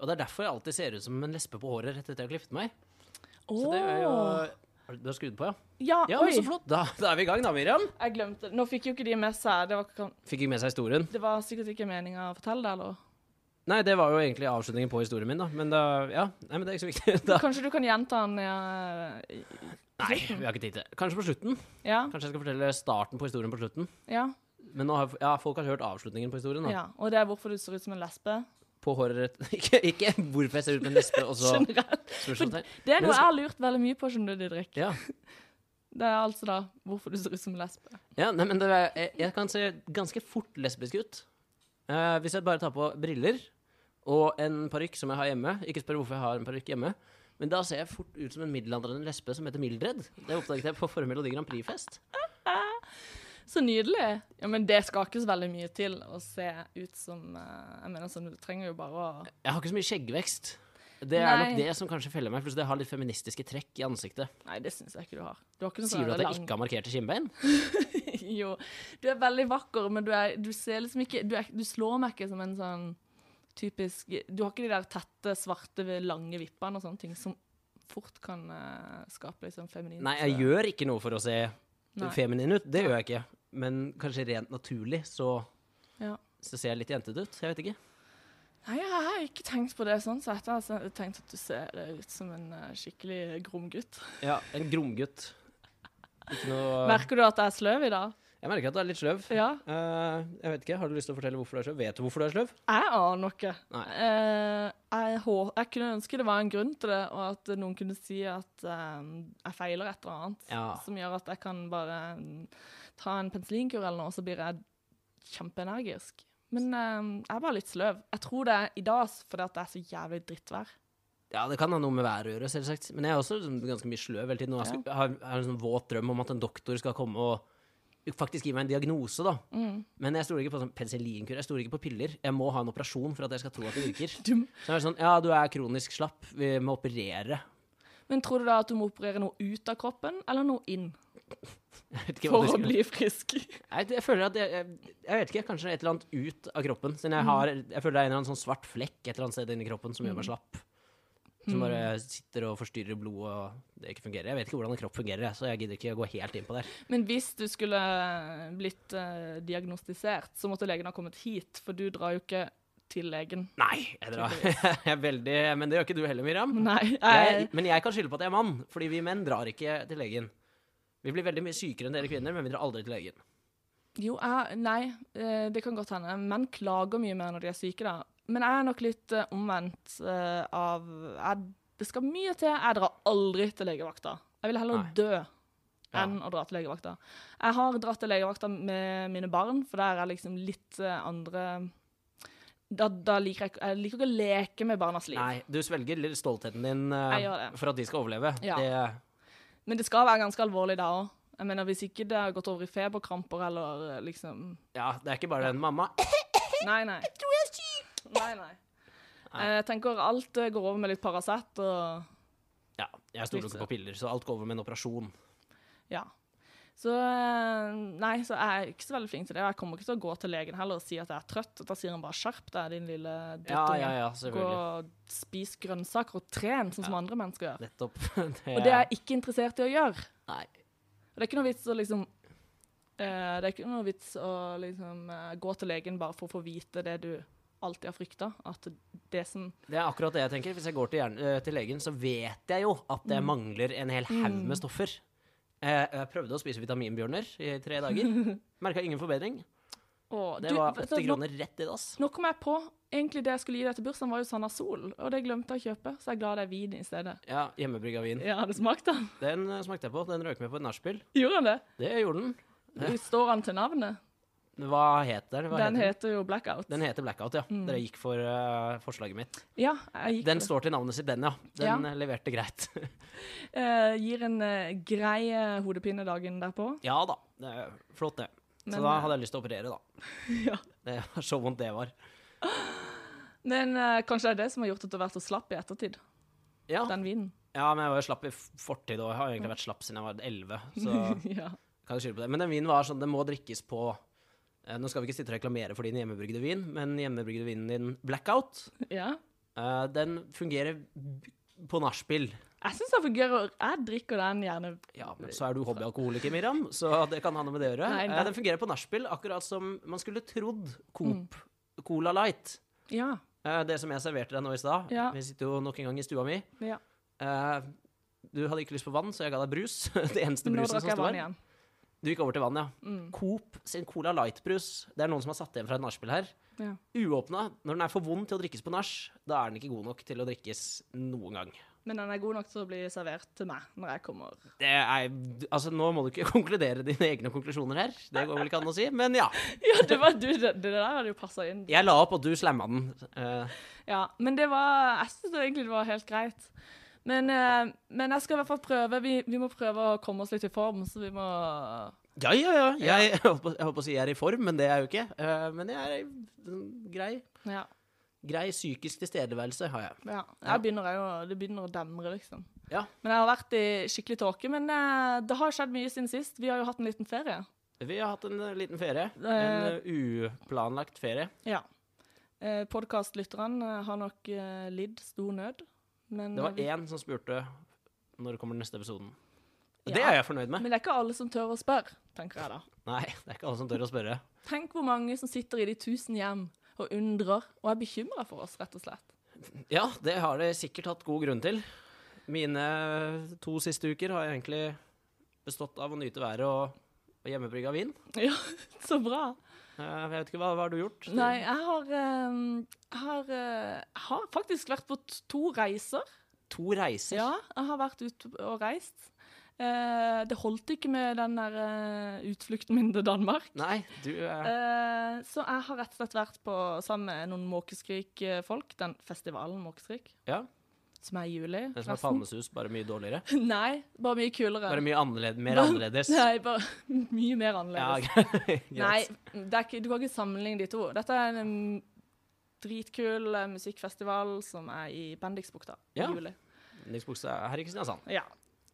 Og det er derfor jeg alltid ser ut som en lesbe på håret rett etter jeg har klippet meg. Åh. Så det er jo Har Du du har skrudd på, ja? Ja, Ja, men oi. Så flott. Da, da er vi i gang, da, Miriam. Jeg glemte det. Nå fikk jo ikke de med seg Det var, ikke- Fikk ikke med seg historien. det var sikkert ikke meninga å fortelle det, eller? Nei, det var jo egentlig avslutningen på historien min, da. Men da Ja, nei, men det er ikke så viktig. Da. Kanskje du kan gjenta den? Ja. Nei, vi har ikke tid til det. Kanskje på slutten. Ja. Kanskje jeg skal fortelle starten på historien på slutten. ja. Men nå har, ja, folk har hørt avslutningen på historien. Sånn, da. ja. Og det er hvorfor du ser ut som en lesbe? På håret rett ikke, ikke hvorfor jeg ser ut som en lesbe, og så Generelt. spørsmålstegn. Det er Men noe så- jeg har lurt veldig mye på, skjønner du, Didrik. Ja. Det er altså da hvorfor du ser ut som en lesbe. ja, nei, men det er, jeg, jeg kan se ganske fort lesbisk ut. Eh, hvis jeg bare tar på briller og en parykk som jeg har hjemme. Ikke spør hvorfor jeg har en parykk hjemme. Men da ser jeg fort ut som en middelaldrende lesbe som heter Mildred. Det oppdaget jeg på forrige Melodi Grand Prix-fest. Så nydelig. Ja, men det skal ikke så veldig mye til å se ut som eh, Jeg mener sånn, du trenger jo bare å Jeg har ikke så mye skjeggvekst. Det er Nei. nok det som kanskje feller meg. Plutselig jeg har litt feministiske trekk i ansiktet. Nei, det syns jeg ikke du har. Du har ikke noe sånn Sier du at jeg lang- ikke har markerte kinnbein? Jo. Du er veldig vakker, men du, er, du ser liksom ikke du, er, du slår meg ikke som en sånn typisk Du har ikke de der tette, svarte, lange vippene og sånne ting som fort kan eh, skape litt sånn feminint Nei, jeg gjør ikke noe for å se Nei. feminin ut. Det gjør jeg ikke. Men kanskje rent naturlig så, Ja. så ser jeg litt jentete ut. Jeg vet ikke. Nei, jeg har ikke tenkt på det sånn sett. Jeg har sen- tenkt at du ser eh, ut som en eh, skikkelig grom gutt. Ja, En gromgutt. Ikke noe Merker du at jeg er sløv i dag? Jeg merker at du er litt sløv. Ja. Eh, jeg vet ikke, Har du lyst til å fortelle hvorfor du er sløv? Vet du hvorfor du er sløv? Jeg aner ikke. Nei. Eh, jeg, hå- jeg kunne ønske det var en grunn til det, og at noen kunne si at eh, jeg feiler et eller annet. Ja. Som gjør at jeg kan bare mm, ta en penicillinkur eller noe, og så blir jeg kjempeenergisk. Men eh, jeg er bare litt sløv. Jeg tror det er i dag s- fordi at det er så jævlig drittvær. Ja, det kan ha noe med været å gjøre, selvsagt. Men jeg er også liksom ganske mye sløv hele tiden. Og jeg skal, jeg har, jeg har en sånn våt drøm om at en doktor skal komme og faktisk gi meg en diagnose, da. Men jeg stoler ikke på sånn penicillinkur. Jeg stoler ikke på piller. Jeg må ha en operasjon for at jeg skal tro at det virker. Så Du- jeg er sånn, ja, du er kronisk slapp. Vi må operere. Men tror du da at du må operere noe ut av kroppen, eller noe inn? Jeg vet ikke hva For du å skal bli frisk. Nei, det- jeg føler at jeg, jeg, jeg vet ikke, kanskje et eller annet ut av kroppen. Siden Mm. jeg, har, jeg føler det er en eller annen sånn svart flekk et eller annet sted inni kroppen som gjør Mm. meg slapp. Som bare sitter og forstyrrer blodet og det ikke fungerer. Jeg vet ikke hvordan en kropp fungerer, jeg, så jeg gidder ikke å gå helt inn på det. Men hvis du skulle blitt eh, diagnostisert, så måtte legen ha kommet hit, for du drar jo ikke til legen. Nei, jeg drar. Jeg er veldig, men det gjør ikke du heller, Miriam. Mm. Nei, Jeg, jeg, men jeg kan skylde på at jeg er mann, fordi vi menn drar ikke til legen. Vi blir veldig mye sykere enn dere kvinner, men vi drar aldri til legen. jo, jeg, nei, eh, det kan godt hende. Menn klager mye mer når de er syke, da. Men jeg er nok litt eh, omvendt eh, av jeg, Det skal mye til. Jeg drar aldri til legevakta. Jeg vil heller Nei. dø enn å dra til legevakta. Jeg har dratt til legevakta med mine barn, for der er liksom litt eh, andre da, da liker jeg, ikke- jeg liker ikke å leke med barnas liv. Nei, du svelger litt stoltheten din Jeg eh, gjør det. for at de skal overleve. Ja. Det, Men det skal være ganske alvorlig da òg. Jeg mener, Hvis ikke det har gått over i feberkramper eller eh, liksom ja, det er ikke bare den mamma. Nei, nei. Jeg tror jeg er syk! Nei, nei. Jeg tenker alt eh, går over med litt Paracet og Ja, jeg stoler ikke på piller, så alt går over med en operasjon. ja. Så eh, nei, så jeg er ikke så veldig flink til det. Og jeg kommer ikke til å gå til legen heller og si at jeg er trøtt. Da sier han bare 'skjerp deg, din lille Ja, drittunge'. ja, ja, Gå selvfølgelig. og spis grønnsaker og tren, sånn som andre mennesker gjør. Nettopp. Og det er jeg ikke interessert i å gjøre. Nei. Og det er ikke noe vits å liksom eh, Det er ikke noe vits å liksom eh, gå til legen bare for å få vite det du alltid har frykta. At det som Det er akkurat det jeg tenker. Hvis jeg går til, hjern- eh, til legen, så vet jeg jo at Mm. jeg mangler en hel haug med stoffer. Eh, Jeg prøvde å spise vitaminbjørner i tre dager. Merka ingen forbedring. Å, Det du, var 80 vet du, nå- kroner rett i dass. Nå kom jeg på egentlig det jeg skulle gi deg til bursdagen, var jo Sanna Sol, og det glemte jeg å kjøpe, så jeg er glad det er vin i stedet. Ja, hjemmebrygga vin. Ja, det smakte han. Den eh, smakte jeg på. Den røk med på et nachspiel. Gjorde han det? Det gjorde den. Du står han til navnet? Hva heter den? Hva heter Den den? heter jo Blackout. den heter Blackout, ja. Dere gikk for eh, forslaget mitt. ja, jeg gikk Den står til navnet sitt, den, ja. Den Ja. eh, leverte greit. Eh, gir en eh, grei eh, hodepine dagen derpå. Ja da, det er flott det. Så Men, da eh, hadde jeg lyst til å operere, da. Ja. Det var så vondt det var. Men eh, kanskje det er det som har gjort at du har vært så slapp i ettertid, Ja, den vinen. ja men jeg var jo slapp i f- fortid, og jeg har egentlig vært slapp siden jeg var 11. Så ja. kan jeg skylde på det. Men den vinen var sånn, den må drikkes på eh, Nå skal vi ikke sitte og reklamere for din hjemmebrygde vin, men hjemmebrygde vinen din Blackout ja. Eh, den fungerer b- på nachspiel. Jeg syns det fungerer. Jeg drikker den gjerne. Ja, men så er du hobbyalkoholiker, Miriam, så det kan ha noe med det å gjøre. Nei, nei. Eh, den fungerer på nachspiel, akkurat som man skulle trodd Coop Mm. Cola Light. Ja. Eh, det som jeg serverte deg nå i stad. Ja. Vi sitter jo nok en gang i stua mi. ja. Eh, du hadde ikke lyst på vann, så jeg ga deg brus. det eneste Nå brusen som drakk jeg sto vann her. igjen. Du gikk over til vann, ja. Mm. Coop sin Cola Light-brus. Det er noen som har satt igjen fra et nachspiel her. Ja. Uåpna. Når den er for vond til å drikkes på nach, da er den ikke god nok til å drikkes noen gang. Men den er god nok til å bli servert til meg når jeg kommer. Det er, altså, nå må du ikke konkludere dine egne konklusjoner her, det går vel ikke an å si, men ja. Ja, det, var, du, det, det der hadde jo passa inn. Jeg la opp, og du slamma den. Eh, Ja, men det var Jeg syns egentlig det var helt greit. Men, eh, men jeg skal i hvert fall prøve. Vi, vi må prøve å komme oss litt i form, så vi må ja, ja, ja. Jeg, jeg holdt på- jeg holdt på å si jeg er i form, men det er jeg jo ikke. Eh, men jeg er i sånn grei, Ja. grei psykisk tilstedeværelse, har jeg. ja. Ja. Jeg begynner, jeg, å- det begynner å demre, liksom. Ja. Men jeg har vært i skikkelig tåke. Men eh, det har skjedd mye siden sist. Vi har jo hatt en liten ferie. Vi har hatt en eh, liten ferie. En eh, uplanlagt ferie. Ja. Eh, Podkastlytterne eh, har nok eh, lidd stor nød. Men, Det eh, var vi, én som spurte når kommer den neste episoden. Og Ja. Det er jeg fornøyd med. men det er ikke alle som tør å spørre, tenker jeg da. Nei, det er ikke alle som tør å spørre. Tenk hvor mange som sitter i de tusen hjem og undrer og er bekymra for oss, rett og slett. Ja, det har de sikkert hatt god grunn til. Mine to siste uker har egentlig bestått av å nyte været og, og hjemmebrygga vin. Ja, så bra. Eh, Jeg vet ikke, hva, hva har du gjort? Nei, jeg har, eh, jeg har, eh, jeg har faktisk vært på t- to reiser. To reiser. Ja, jeg har vært ute og reist. Eh, det holdt ikke med den der eh, utflukten min til Danmark. Nei, du eh, Eh, så jeg har rett og slett vært på sammen med noen Måkeskrik-folk, den festivalen Måkeskrik, Ja. som er i juli. Den som er forresten. Palmesus, bare mye dårligere. Nei, bare mye kulere. Bare mye annerledes, mer annerledes. Nei, bare mye mer Ja, annerledes. greit. Nei, det er ikke, du kan ikke sammenligne de to. Dette er en mm, dritkul eh, musikkfestival som er i Bendiksbukta Ja. i juli. Yndlingsbuksa er her i Kristiansand. Ja.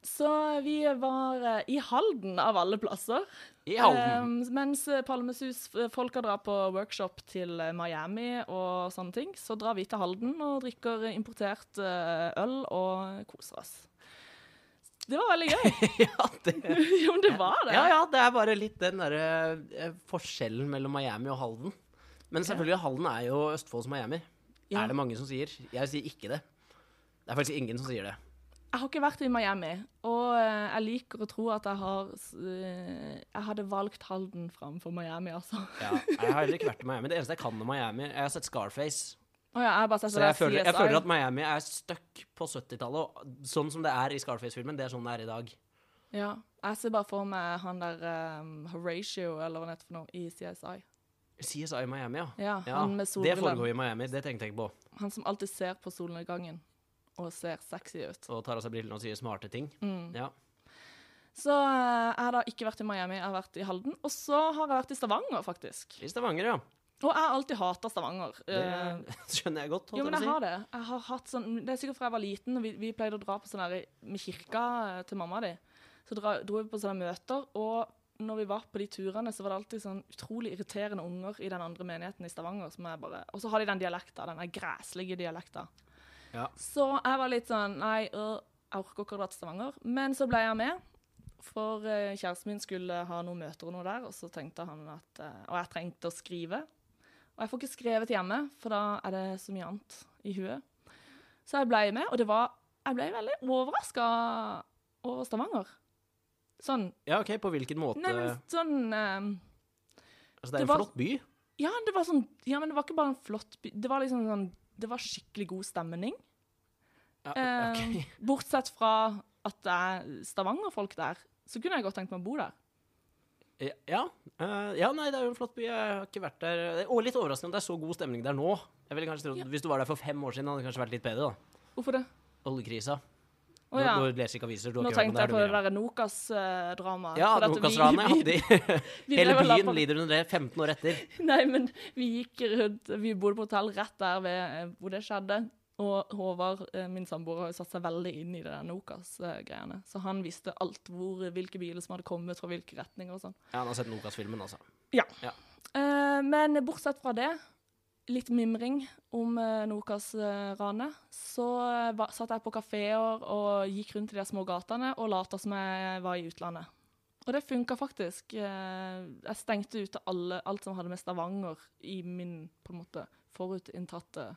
Så vi var eh, i Halden, av alle plasser. I Halden. Eh, mens Palmesus-folka drar på workshop til eh, Miami og sånne ting, så drar vi til Halden og drikker eh, importert eh, øl og koser oss. Det var veldig gøy. ja, det jo, men det var det. Ja, ja, det er bare litt den derre eh, forskjellen mellom Miami og Halden. Men selvfølgelig, Halden er jo Østfolds Miami. Ja. Er det mange som sier? Jeg sier ikke det. Det er faktisk ingen som sier det. Jeg har ikke vært i Miami, og eh, jeg liker å tro at jeg har s- eh, Jeg hadde valgt Halden framfor Miami, altså. Å Ja, jeg har heller ikke vært i Miami. Det eneste jeg kan om Miami, jeg har sett Scarface. ja, jeg har bare sett Så det jeg der føler, jeg CSI. føler at Miami er stuck på 70-tallet. og Sånn som det er i Scarface-filmen, det er sånn det er i dag. Ja. Jeg ser bare for meg han der eh, Horatio, eller hva det heter for noe, i CSI. CSI i Miami, ja. Ja, ja han med det foregår solbrillen. i Miami, det tenkte jeg ikke på. Han som alltid ser på solnedgangen og ser sexy ut. Og tar av seg brillene og sier smarte ting. Ja. Så eh, jeg har da ikke vært i Miami, jeg har vært i Halden. Og så har jeg vært i Stavanger, faktisk. I Stavanger, ja. Og jeg har alltid hata Stavanger. Det Eh, skjønner jeg godt. holdt Jo, men jeg på å si. jeg har det. Jeg har hatt sånn, det er sikkert fra jeg var liten, og vi, vi pleide å dra på sånn her med kirka eh, til mamma di. Så dra, dro vi på sånne møter, og når vi var på de turene, så var det alltid sånn utrolig irriterende unger i den andre menigheten i Stavanger. som jeg bare... Og så har de den dialekta, den der græslige dialekta. Ja. Så jeg var litt sånn Nei, øh, jeg orker ikke å dra til Stavanger. Men så ble jeg med. For eh, kjæresten min skulle ha noen møter og noe der, og så tenkte han at eh, Og jeg trengte å skrive. Og jeg får ikke skrevet hjemme, for da er det så mye annet i huet. Så jeg ble med, og det var Jeg ble veldig overraska over Stavanger. Sånn. Ja, ok, på hvilken måte? Nei, men sånn eh, altså, det det er en var- flott by. Ja, det var sånn Ja, men det var ikke bare en flott by. Det var liksom sånn Det var skikkelig god stemning. Ja, Eh, ok. Bortsett fra at det er Stavanger-folk der, så kunne jeg godt tenkt meg å bo der. ja, eh, ja, nei, det er jo en flott by. Jeg har ikke vært der Det er- Og litt overraskende at det er så god stemning der nå. Jeg ville kanskje trodd, Hvis du var der for fem år siden, hadde det kanskje vært litt bedre. da Hvorfor det? Oljekrisa. Å ja. Du, du leser ikke aviser. Du har Nå ikke hørt om tenkte det, jeg på det her, du, Miriam. der eh, Nokas-dramaet. Ja, Nokas-ranet. de- Hele byen lider. lider under det 15 år etter. Nei, men vi gikk rundt Vi bodde på hotell rett der ved, eh, hvor det skjedde. Og Håvard, eh, min samboer, har jo satt seg veldig inn i det der Nokas-greiene. Så han visste alt hvor, hvilke biler som hadde kommet fra hvilke retninger og sånn. Ja, han har sett Nokas-filmen, altså. Ja. Ja. Eh, men bortsett fra det litt mimring om eh, Nokas-ranet, så eh, va- satt jeg på kafeer og gikk rundt i de små gatene og lata som jeg var eh, i utlandet. Og det funka faktisk. Eh, Jeg stengte ute alle, alt som hadde med Stavanger i min på en måte forutinntatte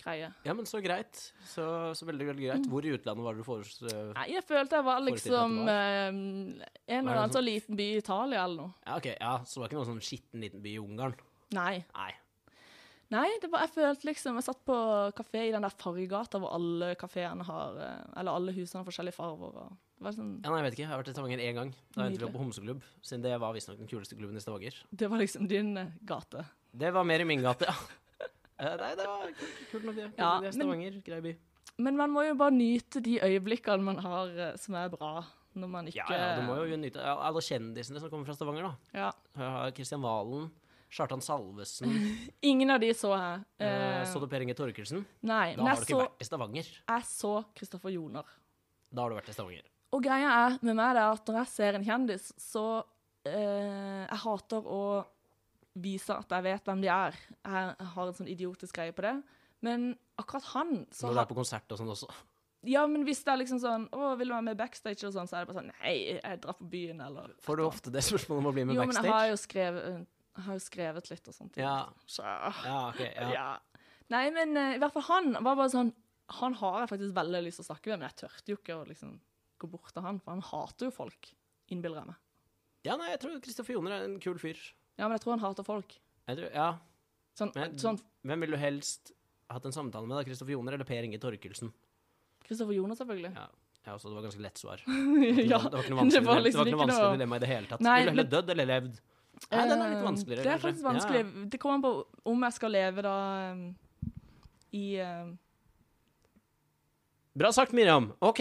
greie. Ja, men så greit. Så, så veldig, veldig Mm. greit. Hvor i utlandet var det du foreslo Nei, jeg følte jeg var liksom Forutinntatte eh, en Var eller det annen sånn- sånn liten by i Italia eller noe. Ja, ok, ja, Så det var ikke noen sånn skitten liten by i Ungarn? Nei. Nei. Nei, det var, jeg følte liksom Jeg satt på kafé i den der fargegata hvor alle kafeene har eh, Eller alle husene har forskjellige farger. Og, det, var sånn, Ja, nei, jeg vet ikke. Jeg har vært i Stavanger én gang. Da endte vi opp Nydelig. på Homseklubb, siden det var visstnok den kuleste klubben i Stavanger. det var liksom din eh, gate. Det var mer i min gate, ja. Eh, Nei, det var kult nok, det. Kult Ja, nok det. men- Stavanger, grei by. Men man må jo bare nyte de øyeblikkene man har eh, som er bra, når man ikke Ja, ja, du må jo nyte ja, alle kjendisene som kommer fra Stavanger, da. Ja. Jeg har Kristian Valen, Kjartan Salvesen, Ingen av de så jeg. eh, Eh, så du Per Inge Torkelsen? nei, Da men har du jeg ikke så, vært i Stavanger. jeg så Kristoffer Joner. Da har du vært i Stavanger. Og greia er med meg det er at når jeg ser en kjendis, så eh, Jeg hater å vise at jeg vet hvem de er. Jeg har en sånn idiotisk greie på det. Men akkurat han så Når du har, er på konsert og sånn også. Ja, men hvis det er liksom sånn Å, vil du være med backstage og sånn, så er det bare sånn Nei, jeg drar på byen, eller Får du ofte det spørsmålet om å bli med Jo, men jeg backstage? har jo skrevet, jeg har jo skrevet litt og sånt. Ja, Så ja, ok. ja. Ja. Nei, men eh, i hvert fall han var bare sånn Han har jeg faktisk veldig lyst til å snakke med, men jeg tørte jo ikke å liksom gå bort til han, for han hater jo folk, innbiller jeg meg. ja, nei, jeg tror Kristoffer Joner er en kul fyr. Ja, men jeg tror han hater folk. Jeg tror, ja. Sånn, Men- sånn Hvem ville du helst hatt en samtale med, da? Kristoffer Joner eller Per Inge Torkelsen? Kristoffer Jonas, selvfølgelig. Ja. Ja, så det var ganske lett svar. ja, det var ikke noe vanskelig, det var det var liksom ikke noe ikke vanskelig noe- dilemma i det hele tatt. Nei, Ville du heller men- dødd eller levd? Nei, den er litt Eh, vanskeligere. Det er kanskje. faktisk Ja, ja. vanskelig. Det kommer an på om jeg skal leve da um, i um, Bra sagt, Miriam. OK.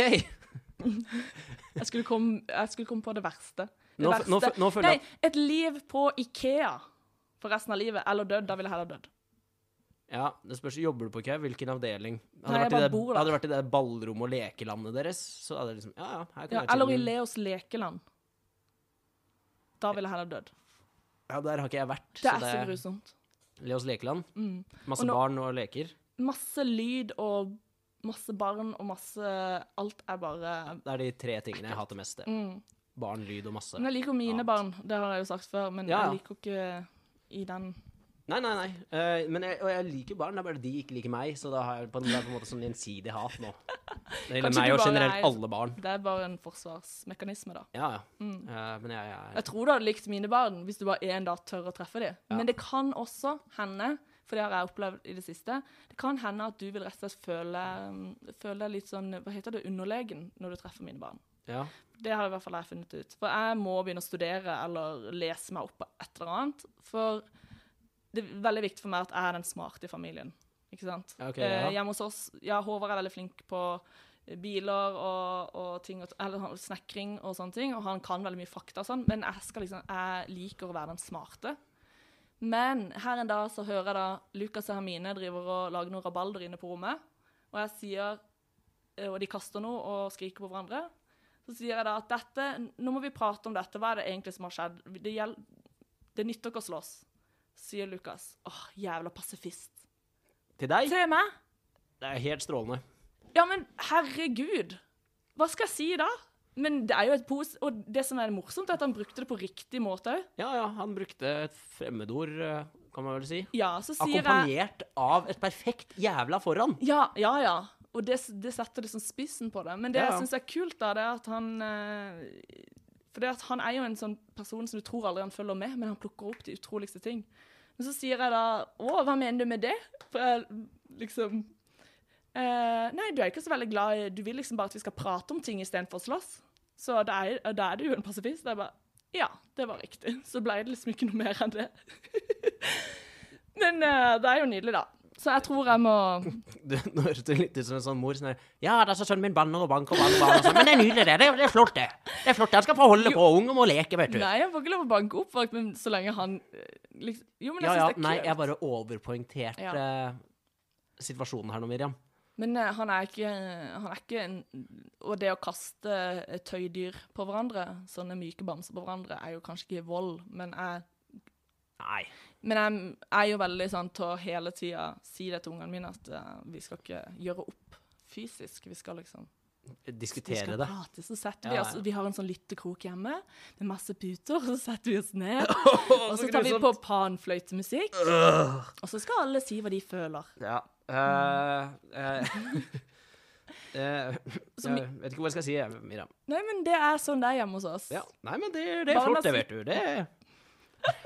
jeg, skulle komme, jeg skulle komme på det verste. Det Nå, f- verste. nå, f- nå føler Nei, jeg et liv på Ikea for resten av livet, eller dødd. Da ville jeg heller dødd. Ja, det spørs jobber du på IKEA. Hvilken avdeling? Hadde Nei, det jeg vært i bare det- bor der. Hadde det vært i det ballrommet og lekelandet deres, så hadde det liksom Ja, ja, her kan Ja, jeg eller i tjene- Leos lekeland. Da ville jeg heller dødd. Ja, der har ikke jeg vært. Det er så grusomt. Leos lekeland. Mm. Masse Og nå- barn og leker. Masse lyd og masse barn og masse Alt er bare Det er de tre tingene jeg hater mest. det. mm. Barn, lyd og masse. Men jeg liker jo mine annet. barn, det har jeg jo sagt før, men Ja, ja. jeg liker jo ikke i den Nei, nei, nei. Eh, men jeg, og jeg liker barn, det er bare de ikke liker meg. Så da har jeg på en, det er på en måte sånn gjensidig hat nå. Det Kanskje gjelder meg du og bare generelt er- alle barn. Det er bare en forsvarsmekanisme, da. Ja, ja. Mm. Eh, men jeg, jeg Jeg tror du hadde likt mine barn hvis du bare en dag tør å treffe dem. Ja. Men det kan også hende, for det har jeg opplevd i det siste, det kan hende at du vil rett og slett føle, føle deg litt sånn Hva heter det? Underlegen når du treffer mine barn. ja. Det har i hvert fall jeg funnet ut. For jeg må begynne å studere eller lese meg opp på et eller annet. For det er veldig viktig for meg at jeg er den smarte i familien. Ikke sant? Ja, ok, ja. Eh, hjemme hos oss Ja, Håvard er veldig flink på eh, biler og, og ting, og- eller han- snekring og sånne ting, og han kan veldig mye fakta og sånn, men jeg, skal liksom, jeg liker å være den smarte. Men her en dag så hører jeg da Lukas og Hermine driver og lager noen rabalder inne på rommet, og jeg sier eh, Og de kaster noe og skriker på hverandre. Så sier jeg da at dette, nå må vi prate om dette. Hva er det egentlig som har skjedd? Det, gjel- det nytter ikke å slåss, sier Lukas. Åh, jævla pasifist. Til deg? Se meg! Det er helt strålende. Ja, men herregud! Hva skal jeg si da? Men det er jo et pos... Og det som er morsomt, er at han brukte det på riktig måte òg. Ja, ja, han brukte et fremmedord, eh, kan man vel si. Ja, så sier jeg Akkompagnert av et perfekt jævla foran. Ja, ja, ja. Og det, det setter liksom spissen på det. Men det Ja, ja. jeg syns er kult, da, det er at han eh, For det at han er jo en sånn person som du tror aldri han følger med, men han plukker opp de utroligste ting. Men så sier jeg da Å, hva mener du med det? For jeg liksom eh, Nei, du er ikke så veldig glad i Du vil liksom bare at vi skal prate om ting istedenfor å slåss. Så da er, da er du jo en pasifist. Da er jeg bare Ja, det var riktig. Så ble det liksom ikke noe mer enn det. men eh, det er jo nydelig, da. Så jeg tror jeg må Du, nå høres du litt ut som en sånn mor sånn der Ja, det er så sønnen min banner og banker og banner, og banner og sånn. Men det er nydelig, det. Det er, det er flott, det. Det er flott. Han skal få holde på. Ung og må leke, vet du. Nei, jeg får ikke lov å banke opp folk, men så lenge han eh, liksom, Jo, Ja, men jeg ja. synes syns det Nei, er kult. jeg bare overpoengterte Ja. eh, situasjonen her nå, Miriam. Men eh, han, er ikke, han er ikke en Og det å kaste eh, tøydyr på hverandre, sånne myke bamser på hverandre, er jo kanskje ikke vold, men jeg Nei. Men jeg er jo veldig sånn til å hele tida si det til ungene mine, at eh, vi skal ikke gjøre opp fysisk. Vi skal liksom vi Diskutere skal det. prate, så Ja, setter vi ja. oss Vi har en sånn lyttekrok hjemme med masse puter, og så setter vi oss ned. og så så sånn tar vi på grusomt. panfløytemusikk, og så skal alle si hva de føler. Ja. eh, eh, eh, Som- jeg vet ikke hva jeg skal si, jeg, Mira. Nei, men det er sånn det er hjemme hos oss. Ja. Nei, men det, det er Barna flott, det, sier- vet du. Det,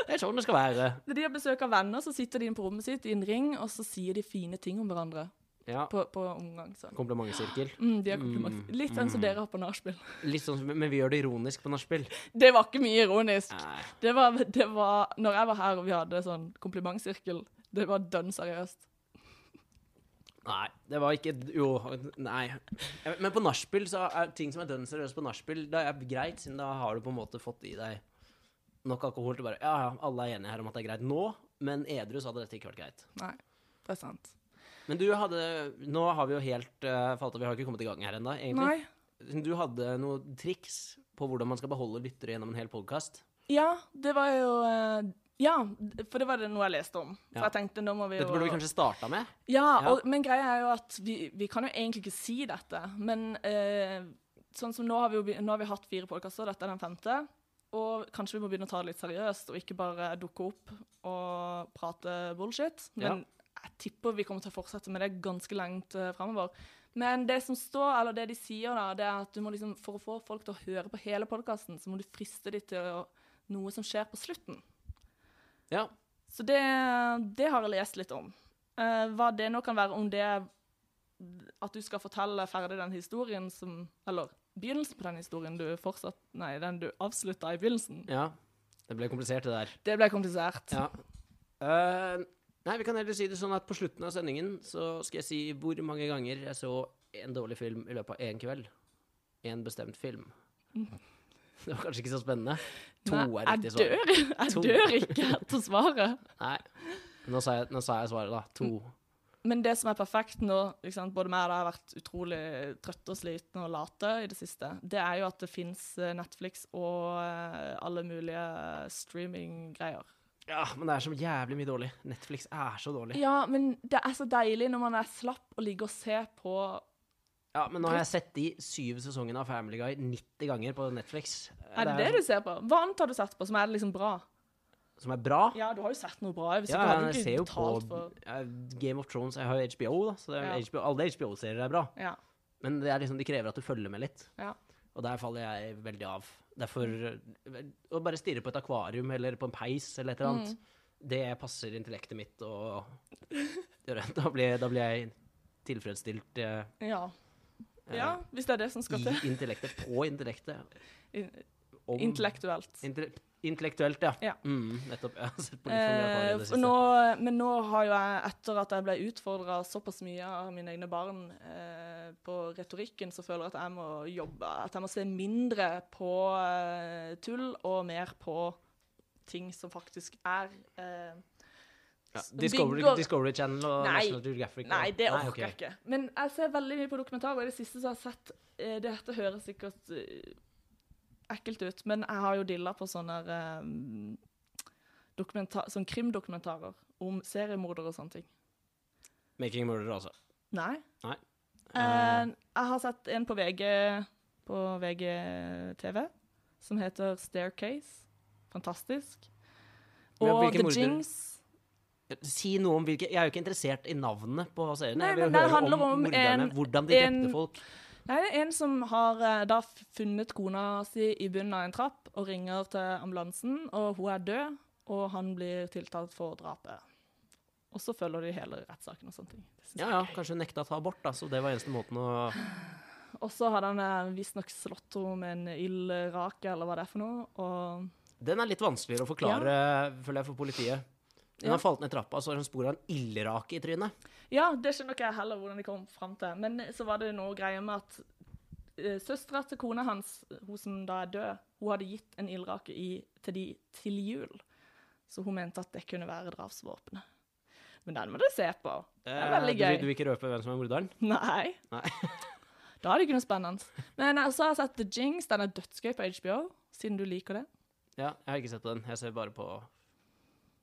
det er sånn det skal være. Når de har besøk av venner, så sitter de inne på rommet sitt i en ring, og så sier de fine ting om hverandre Ja. på, på omgang. Sånn. Komplimentsirkel. Mm, de har kompliment. Mm, Litt sånn som mm. dere har på nachspiel. Litt sånn, som- men vi gjør det ironisk på nachspiel. Det var ikke mye ironisk. Nei. Det var, det var Når jeg var her og vi hadde sånn komplimentsirkel, det var dønn seriøst. Nei, det var ikke Jo, nei. Jeg- Men på nachspiel så er ting som er dønn seriøst på nachspiel, det er greit, siden da har du på en måte fått i deg nok alkohol til bare Ja, ja, alle er enige her om at det er greit nå, men edru så hadde dette ikke vært greit. Nei, det er sant. Men du hadde Nå har vi jo helt eh, falt av, vi har ikke kommet i gang her ennå, egentlig. Nei. Du hadde noen triks på hvordan man skal beholde lyttere gjennom en hel podkast. Ja, det var jo eh, Ja, for det var det noe jeg leste om. For Ja. jeg tenkte, nå må vi jo Dette burde vi kanskje starta med. Ja, Ja. og, men greia er jo at vi, vi kan jo egentlig ikke si dette, men eh, sånn som nå har vi jo be- nå har vi hatt fire podkaster, dette er den femte, og kanskje vi må begynne å ta det litt seriøst og ikke bare dukke opp og prate bullshit. Men jeg tipper vi kommer til å fortsette med det ganske langt uh, framover. Men det som står, eller det de sier, da, det er at du må liksom, for å få folk til å høre på hele podkasten, så må du friste dem til å, noe som skjer på slutten. Ja. Så det, det har jeg lest litt om. Eh, hva det nå kan være om det er at du skal fortelle ferdig den historien som Eller begynnelsen på den historien du fortsatt Nei, den du avslutta i begynnelsen. ja. Det ble komplisert, det der. Det ble komplisert. Ja. Eh, nei, vi kan heller si det sånn at på slutten av sendingen så skal jeg si hvor mange ganger jeg så en dårlig film i løpet av én kveld. En bestemt film. Det var kanskje ikke så spennende. To Mm. Nei, er riktig jeg svar. dør, jeg To. dør ikke etter svaret. Nei. Nå sa, jeg, nå sa jeg svaret, da. To. Men det som er perfekt nå, ikke sant? både meg og deg har vært utrolig trøtte og slitne og late i det siste, det er jo at det fins Netflix og eh, alle mulige streaminggreier. Ja, Men det er så jævlig mye dårlig. Netflix er så dårlig. Ja, men det er så deilig når man er slapp og ligger og ser på Ja, Men nå har jeg sett de syv sesongene av Family Guy 90 ganger på Netflix. Eh, Er det det du ser på? Hva annet har du sett på som er liksom bra? Som er bra. Ja, du har jo sett noe bra. Hvis Ja, ikke hadde du jeg ser ikke jo på betalt for eh, Game of Thrones. Jeg har jo HBO, da. Så det er Ja. HBO, alle HBO-serier er bra. Ja. Men det er liksom, de krever at du følger med litt. Ja. Og der faller jeg veldig av. Derfor eh, Å bare stirre på et akvarium eller på en peis eller et eller annet, Mm. det passer intellektet mitt og Da blir, da blir jeg tilfredsstilt eh, Ja. ja, hvis det er det som skal i til. intellektet, på intellektet. In- Om Intellektuelt. intell- Intellektuelt, ja. Ja. Mm, nettopp. Jeg har sett på litt for mye akvarium i Eh, det for siste. nå, men nå har jo jeg, etter at jeg ble utfordra såpass mye av mine egne barn eh, på retorikken, så føler jeg at jeg må jobbe At jeg må se mindre på eh, tull og mer på ting som faktisk er eh, ja, s- Discovery, bygger- Discovery Channel og Nei. National Geographic. og- Nei, det orker ok. jeg ikke. Men jeg ser veldig mye på dokumentarer. og I det siste så har jeg sett eh, Dette høres sikkert eh, ekkelt ut, men jeg har jo dilla på sånne eh, dokumenta- sånn krimdokumentarer om seriemordere og sånne ting. Making a Murderer, altså. Nei. Nei. Eh, jeg har sett en på VG på VGTV som heter 'Staircase'. Fantastisk. Men Og hvilke The mordere? Jinx. Si noe om hvilke Jeg er jo ikke interessert i navnene på seriene. Nei, jeg vil men det høre handler om morderne, en- hvordan de en- drepte folk. Nei, det er en som har eh, da funnet kona si i bunnen av en trapp og ringer til ambulansen, og hun er død, og han blir tiltalt for drapet. Og så følger de hele rettssaken og sånne ting. Det synes Ja, jeg ja, er gøy. Kanskje hun nekta å ta abort, da, så det var eneste måten å Og så hadde han eh, visstnok slått henne med en ildrake, eller hva det er for noe, og Den er litt vanskeligere å forklare, føler jeg, for politiet. Hun har Ja. falt ned trappa, så har hun spor av en ildrake i trynet. Ja, det skjønner ikke jeg heller hvordan de kom fram til. Men så var det noe greier med at uh, søstera til kona hans, hun som da er død, hun hadde gitt en ildrake i, til de til jul. Så hun mente at det kunne være drapsvåpenet. Men den må du se på. Det er Eh, veldig gøy. Du, du vil ikke røpe hvem som er morderen? Nei. Nei. da er det ikke noe spennende. Men jeg så har jeg sett The Jinx. Den er dødsgøy på HBO, siden du liker det. Ja, jeg har ikke sett den. Jeg ser bare på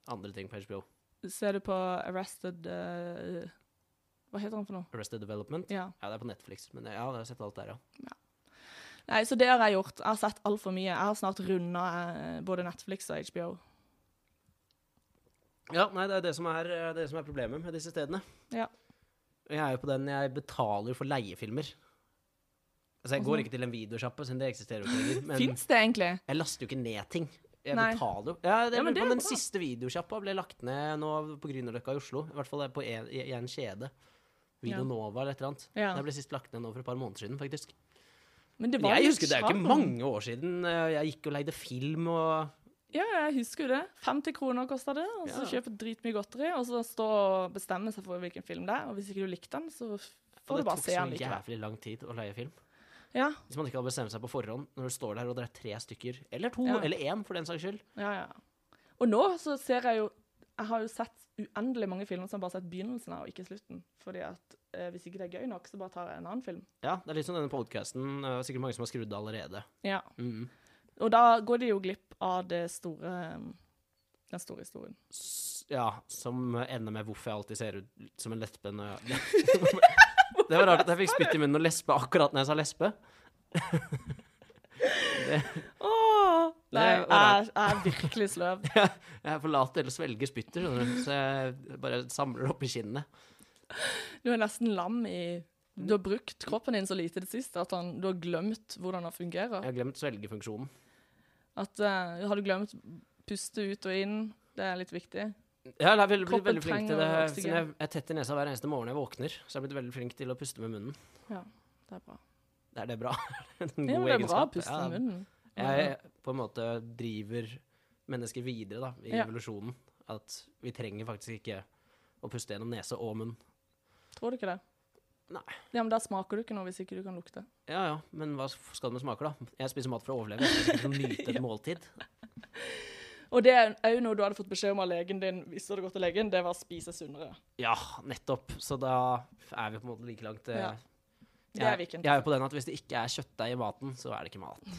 andre ting på HBO. Ser du på Arrested eh, Hva heter han for noe? Arrested Development. Ja. Ja, det er på Netflix, men ja, jeg har sett alt der, ja. Nei, så det har jeg gjort. Jeg har sett altfor mye. Jeg har snart runda eh, både Netflix og HBO. Ja, nei, det er det som er, eh, det som er problemet med disse stedene. Ja. Og Jeg er jo på den jeg betaler for leiefilmer. Altså, jeg Og går sånn. ikke til en videosjappe, siden det eksisterer jo ikke lenger. Men Fins det egentlig? jeg laster jo ikke ned ting. Jeg Nei. betaler jo. Ja, det, Ja, men men det er den bra. siste videosjappa ble lagt ned nå på Grünerløkka i Oslo. I hvert fall på en, i, i en kjede. Ja. Videonova eller et eller annet. Ja. Den ble sist lagt ned nå for et par måneder siden, faktisk. Men det Men var jeg jo husker det er jo sjarm. ikke mange år siden eh, jeg gikk og leide film og Ja, jeg husker jo det. 50 kroner kosta det, og så Ja. kjøpe dritmye godteri, og så stå og bestemme seg for hvilken film det er, og hvis ikke du likte den, så f- Og får det du bare tok se så den likevel. jævlig lang tid å leie film. Ja, Hvis man ikke hadde bestemt seg på forhånd, når du står der og det er tre stykker, eller to, Ja. eller én for den saks skyld. ja, ja. Og nå så ser jeg jo Jeg har jo sett uendelig mange filmer som jeg bare har sett begynnelsen av, og ikke slutten. Fordi at eh, hvis ikke det er gøy nok, så bare tar jeg en annen film. Ja, det er litt som denne podkasten. Sikkert mange som har skrudd av allerede. Ja. Mhm. Og da går de jo glipp av det store um, den store historien. S- Ja, som ender med hvorfor jeg alltid ser ut som en lesbe når jeg Det var rart at jeg fikk spytt i munnen og lesbe akkurat når jeg sa lesbe. Åh! Nei, Det var jeg, jeg er virkelig sløv. Jeg forlater eller svelger spyttet, skjønner du. Så jeg bare samler det opp i kinnet. Du er nesten lam i Du har brukt kroppen din så lite i det siste at han, du har glemt hvordan han fungerer. Jeg har glemt svelgefunksjonen. At eh, Har du glemt puste ut og inn? Det er litt viktig. Ja, jeg er veldig, blitt Kroppen veldig flink til det. trenger Siden jeg jeg er tett i nesa hver eneste morgen jeg våkner, så jeg har blitt veldig flink til å puste med munnen. Det er bra. Er det bra? En god Ja, men det er bra å egenskap. puste Ja, i munnen. Jeg på en måte driver mennesker videre da, i Ja. evolusjonen. At vi trenger faktisk ikke å puste gjennom nese og munn. Tror du ikke det? Nei. Ja, men Da smaker du ikke noe hvis ikke du kan lukte. Ja ja, men hva skal det med smaker, da? Jeg spiser mat for å overleve. Jeg skal ikke nyte et måltid. Og det er òg noe du hadde fått beskjed om av legen din hvis du hadde gått til legen, det var å spise sunnere. Ja, nettopp. Så da er vi på en måte like langt. eh, Ja. Det er Jeg, Viken. jeg er jo på den at hvis det ikke er kjøttdeig i maten, så er det ikke mat.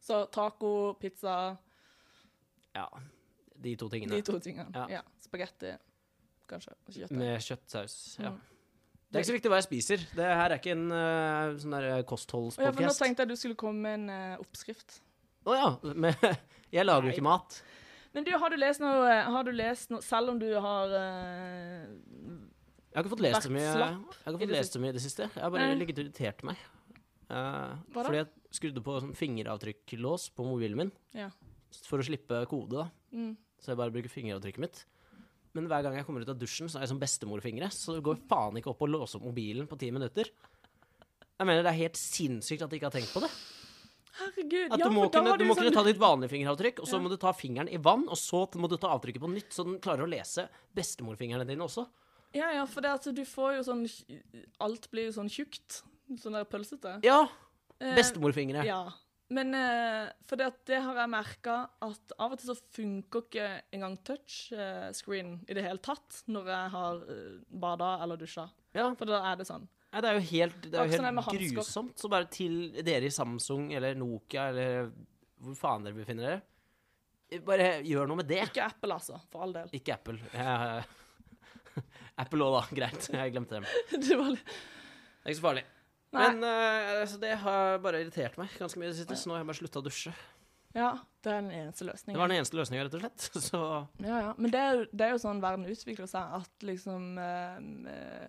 Så taco, pizza, Ja, De to tingene. de to tingene. Ja. Ja. Spagetti, kanskje. og Kjøtt. Med kjøttsaus. Ja. Mm. Det er ikke så viktig hva jeg spiser. Det her er ikke en eh, sånn der eh, Å ja, for nå kostholdspodcast. tenkte jeg du skulle komme med en eh, oppskrift. Å ja. Men jeg lager jo ikke mat. Men du, har du lest noe, eh, har du lest noe Selv om du har eh, Jeg har ikke fått lest så mye Vært Jeg slapp har ikke i fått det lest så mye i det siste. Jeg har bare Nei. ligget og irritert meg. Eh, Hva da? fordi jeg skrudde på sånn fingeravtrykklås på mobilen min Ja. for å slippe kode. da Mm. Så jeg bare bruker fingeravtrykket mitt. Men hver gang jeg kommer ut av dusjen, så er jeg som bestemorfingre. Så det går faen ikke opp å låse opp mobilen på ti minutter. Jeg mener Det er helt sinnssykt at de ikke har tenkt på det. Herregud. At ja, du må for da kunne, har du du må sånn kunne ta ditt vanlige fingeravtrykk, og så Ja. må du ta fingeren i vann, og så må du ta avtrykket på nytt, så den klarer å lese bestemorfingrene dine også. Ja, ja, for det at du får jo sånn Alt blir jo sånn tjukt. Sånn der pølsete. Ja! Eh, Bestemorfingre. Ja. Men eh, for det, at det har jeg merka at av og til så funker ikke engang touchscreen i det hele tatt når jeg har eh, bada eller dusja. Ja. For da er det sånn. Nei, det er jo helt, det er Akkurat jo som det er med helt hansker. grusomt. Så bare til dere i Samsung eller Nokia eller hvor faen dere befinner dere, bare gjør noe med det. Ikke Apple, altså. For all del. Ikke Apple. Jeg, Apple òg, da. Greit. Jeg glemte dem. Det Det var litt er ikke så farlig. Nei. Men eh, altså, det har bare irritert meg ganske mye i det siste, så nå har jeg bare slutta å dusje. Ja, det er den eneste Det løsningen. var den eneste løsninga, rett og slett. Så Ja, ja. Men det er, jo, det er jo sånn verden utvikler seg, at liksom eh, eh,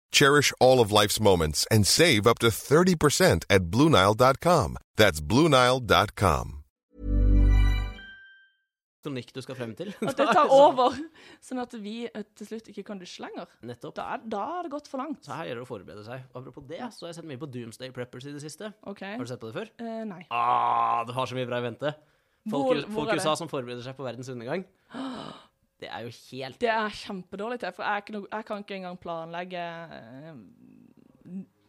Cherish all of life's moments and save up to 30% at BlueNile.com. That's BlueNile.com. kronikk du skal frem til. At det tar over, sånn at vi eh, til slutt ikke kan dusje lenger. Nettopp. Da er, da er det gått for langt. Så her gjør det å forberede seg. Og Apropos det, så har jeg sett mye på Doomsday Preppers i det siste. OK. Har du sett på det før? Eh, nei. Ah, du har så mye bra i vente. Folk, Hvor- i- hvor folk er i det? USA som forbereder seg på verdens undergang. Det er jo helt Det er kjempedårlig til, for jeg, er ikke noe- jeg kan ikke engang planlegge eh,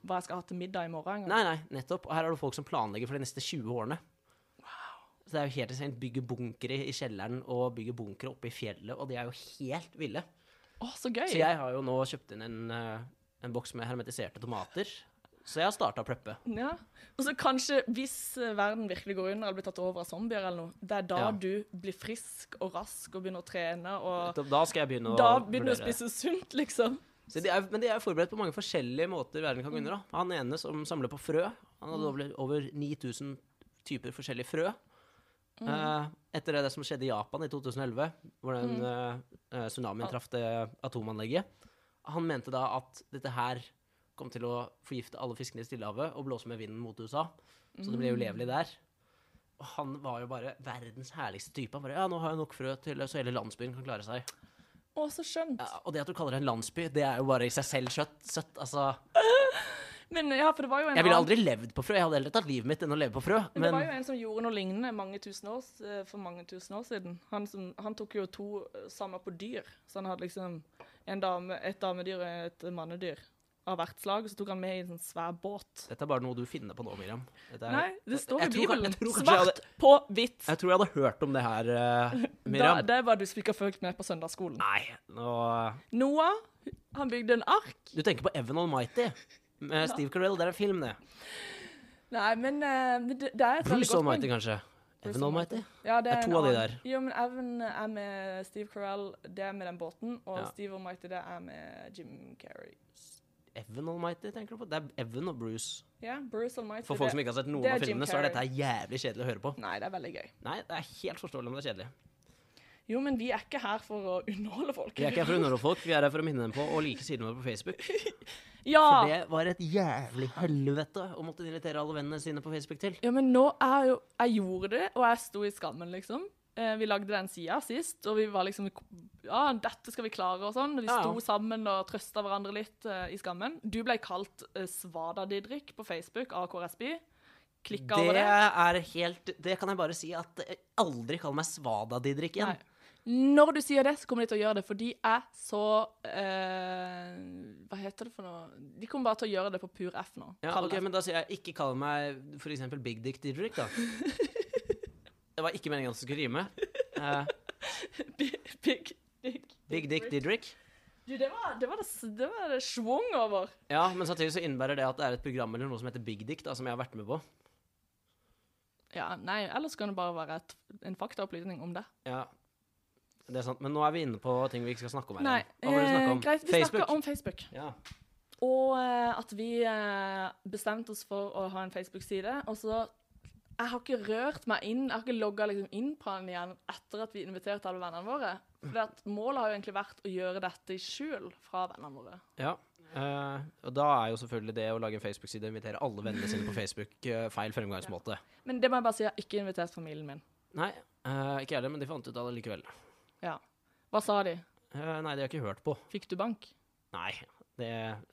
hva jeg skal ha til middag i morgen. engang. Nei, nei, nettopp. Og her er det folk som planlegger for de neste 20 årene. Så det er jo helt insane. Bygge bunkere i kjelleren og bygge bunkere oppe i fjellet, og de er jo helt ville. Å, så gøy! Så jeg har jo nå kjøpt inn en, eh, en boks med hermetiserte tomater. Så jeg har starta å preppe. Ja. Og så kanskje, hvis eh, verden virkelig går under eller blir tatt over av zombier eller noe, det er da Ja. du blir frisk og rask og begynner å trene, og Da skal jeg begynne å da begynner du å vurdere. spise sunt, liksom. Så de er, men de er forberedt på mange forskjellige måter verden kan gå under. da. Han ene som samler på frø, han hadde over, over 9000 typer forskjellige frø. Eh, etter det, som skjedde i Japan i 2011, hvor den eh, eh, tsunamien traff det atomanlegget. Han mente da at dette her kom til å forgifte alle fiskene i Stillehavet og blåse med vinden mot USA. Så det Mm. ble ulevelig der. Og han var jo bare verdens herligste type. Han bare, ja, nå har jeg nok frø til så hele landsbyen kan klare seg. Mm. Å, så skjønt. Ja, og det at du kaller det en landsby, det er jo bare i seg selv søtt. søtt altså. Men ja, for det var jo en Jeg ville annen- aldri levd på frø. Jeg hadde heller tatt livet mitt enn å leve på frø. Men det Men var jo en som gjorde noe lignende mange tusen år, s- eh, for mange tusen år siden. Han, som, han tok jo to samla på dyr. Så han hadde liksom en dame, et damedyr og et mannedyr av hvert slag. Og så tok han med i en sånn svær båt. dette er bare noe du finner på nå, Miriam. Dette er, Nei, det står i jeg tror kan- Bibelen. jeg tror kanskje jeg Svart på hvitt. Jeg tror jeg hadde hørt om det her, eh, Da, Miriam. det var du som ikke har fulgt med på søndagsskolen. Nei, nå Noah, han bygde en ark. Du tenker på Evan Almighty med Steve Carell. Det er en film, det. Nei, men eh, men det, det er et veldig Bruce godt Almighty, poeng. kanskje. Evan Almighty. Ja, det er en to av de annen. der. Jo, men Evan er med Steve Carell, det er med den båten. Og Ja. Steve Almighty, det er med Jim Carrey. Evan Almighty, tenker du på? Det er Evan og Bruce. Ja, Bruce Almighty. For folk som ikke har sett noen det er av Jim filmene, så er dette Carrey. her jævlig kjedelig å høre på. Nei, det er veldig gøy. Nei, det er helt forståelig om det er kjedelig. Jo, men vi er ikke her for å underholde folk. Vi er ikke her for å underholde folk, vi er her for å minne dem på å like sidene våre på Facebook. For Ja! det var et jævlig helvete å måtte invitere alle vennene sine på Facebook til. ja, men nå er jo Jeg gjorde det, og jeg sto i skammen, liksom. Eh, vi lagde den sida sist, og vi var liksom Ja, dette skal vi klare, og sånn. Og vi Ja, ja. sto sammen og trøsta hverandre litt eh, i skammen. Du ble kalt eh, Svada-Didrik på Facebook av KSB. Klikka Det over det. er helt Det kan jeg bare si at jeg Aldri kall meg Svada-Didrik igjen. Nei. Når du sier det, så kommer de til å gjøre det, for de er så eh, Hva heter det for noe De kommer bare til å gjøre det på pur F nå. Ja, Kall ok, det. men da sier jeg ikke kall meg for eksempel Big Dick Didrik, da. Det var ikke meningen at det skulle rime. Eh, Big, big, big, Big Dick Didrik. Du, det var det, var det, s- det, var det schwung over. Ja, men samtidig så innebærer det at det er et program eller noe som heter Big Dick, da, som jeg har vært med på. Ja, nei, ellers kan det bare være et, en faktaopplysning om det. Ja, det er sant. Men nå er vi inne på ting vi ikke skal snakke om her. Nei, eh, igjen. Hva var det vi snakket om? greit, vi Facebook. snakker om Facebook. Ja. Og eh, at vi eh, bestemte oss for å ha en Facebook-side, og så Jeg har ikke rørt meg inn, jeg har ikke logga liksom inn på den igjen etter at vi inviterte alle vennene våre. For at målet har jo egentlig vært å gjøre dette i skjul fra vennene våre. Ja, eh, og da er jo selvfølgelig det å lage en Facebook-side og invitere alle vennene sine på Facebook eh, feil fremgangsmåte. Men det må jeg bare si, jeg har ikke invitert familien min. Nei, eh, ikke jeg heller, men de fant ut av det likevel. Ja. Hva sa de? Eh, nei, de har ikke hørt på. Fikk du bank? Nei, det,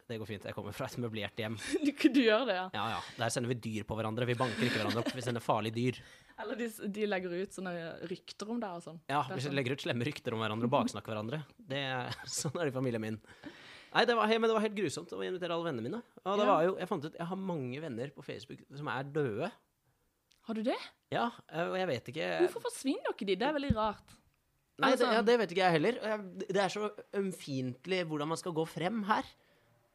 det går fint. Jeg kommer fra et møblert hjem. du, du gjør det, ja. Ja, ja. Der sender vi dyr på hverandre. Vi banker ikke hverandre opp. Vi sender farlige dyr. Eller de, de legger ut sånne rykter om deg og sånn. Ja, Det er Vi sånn. legger ut slemme rykter om hverandre og baksnakker hverandre. Det, er- sånn er det i familien min. Nei, det var, he- men det var helt grusomt å invitere alle vennene mine. Og det Ja. var jo, jeg fant ut, jeg har mange venner på Facebook som er døde. Har du det? Ja, eh, og jeg vet ikke Hvorfor forsvinner ikke de? Det er veldig rart. Nei, Eller det, ja, sånn. det vet ikke jeg heller. Og jeg- Det er så ømfintlig hvordan man skal gå frem her.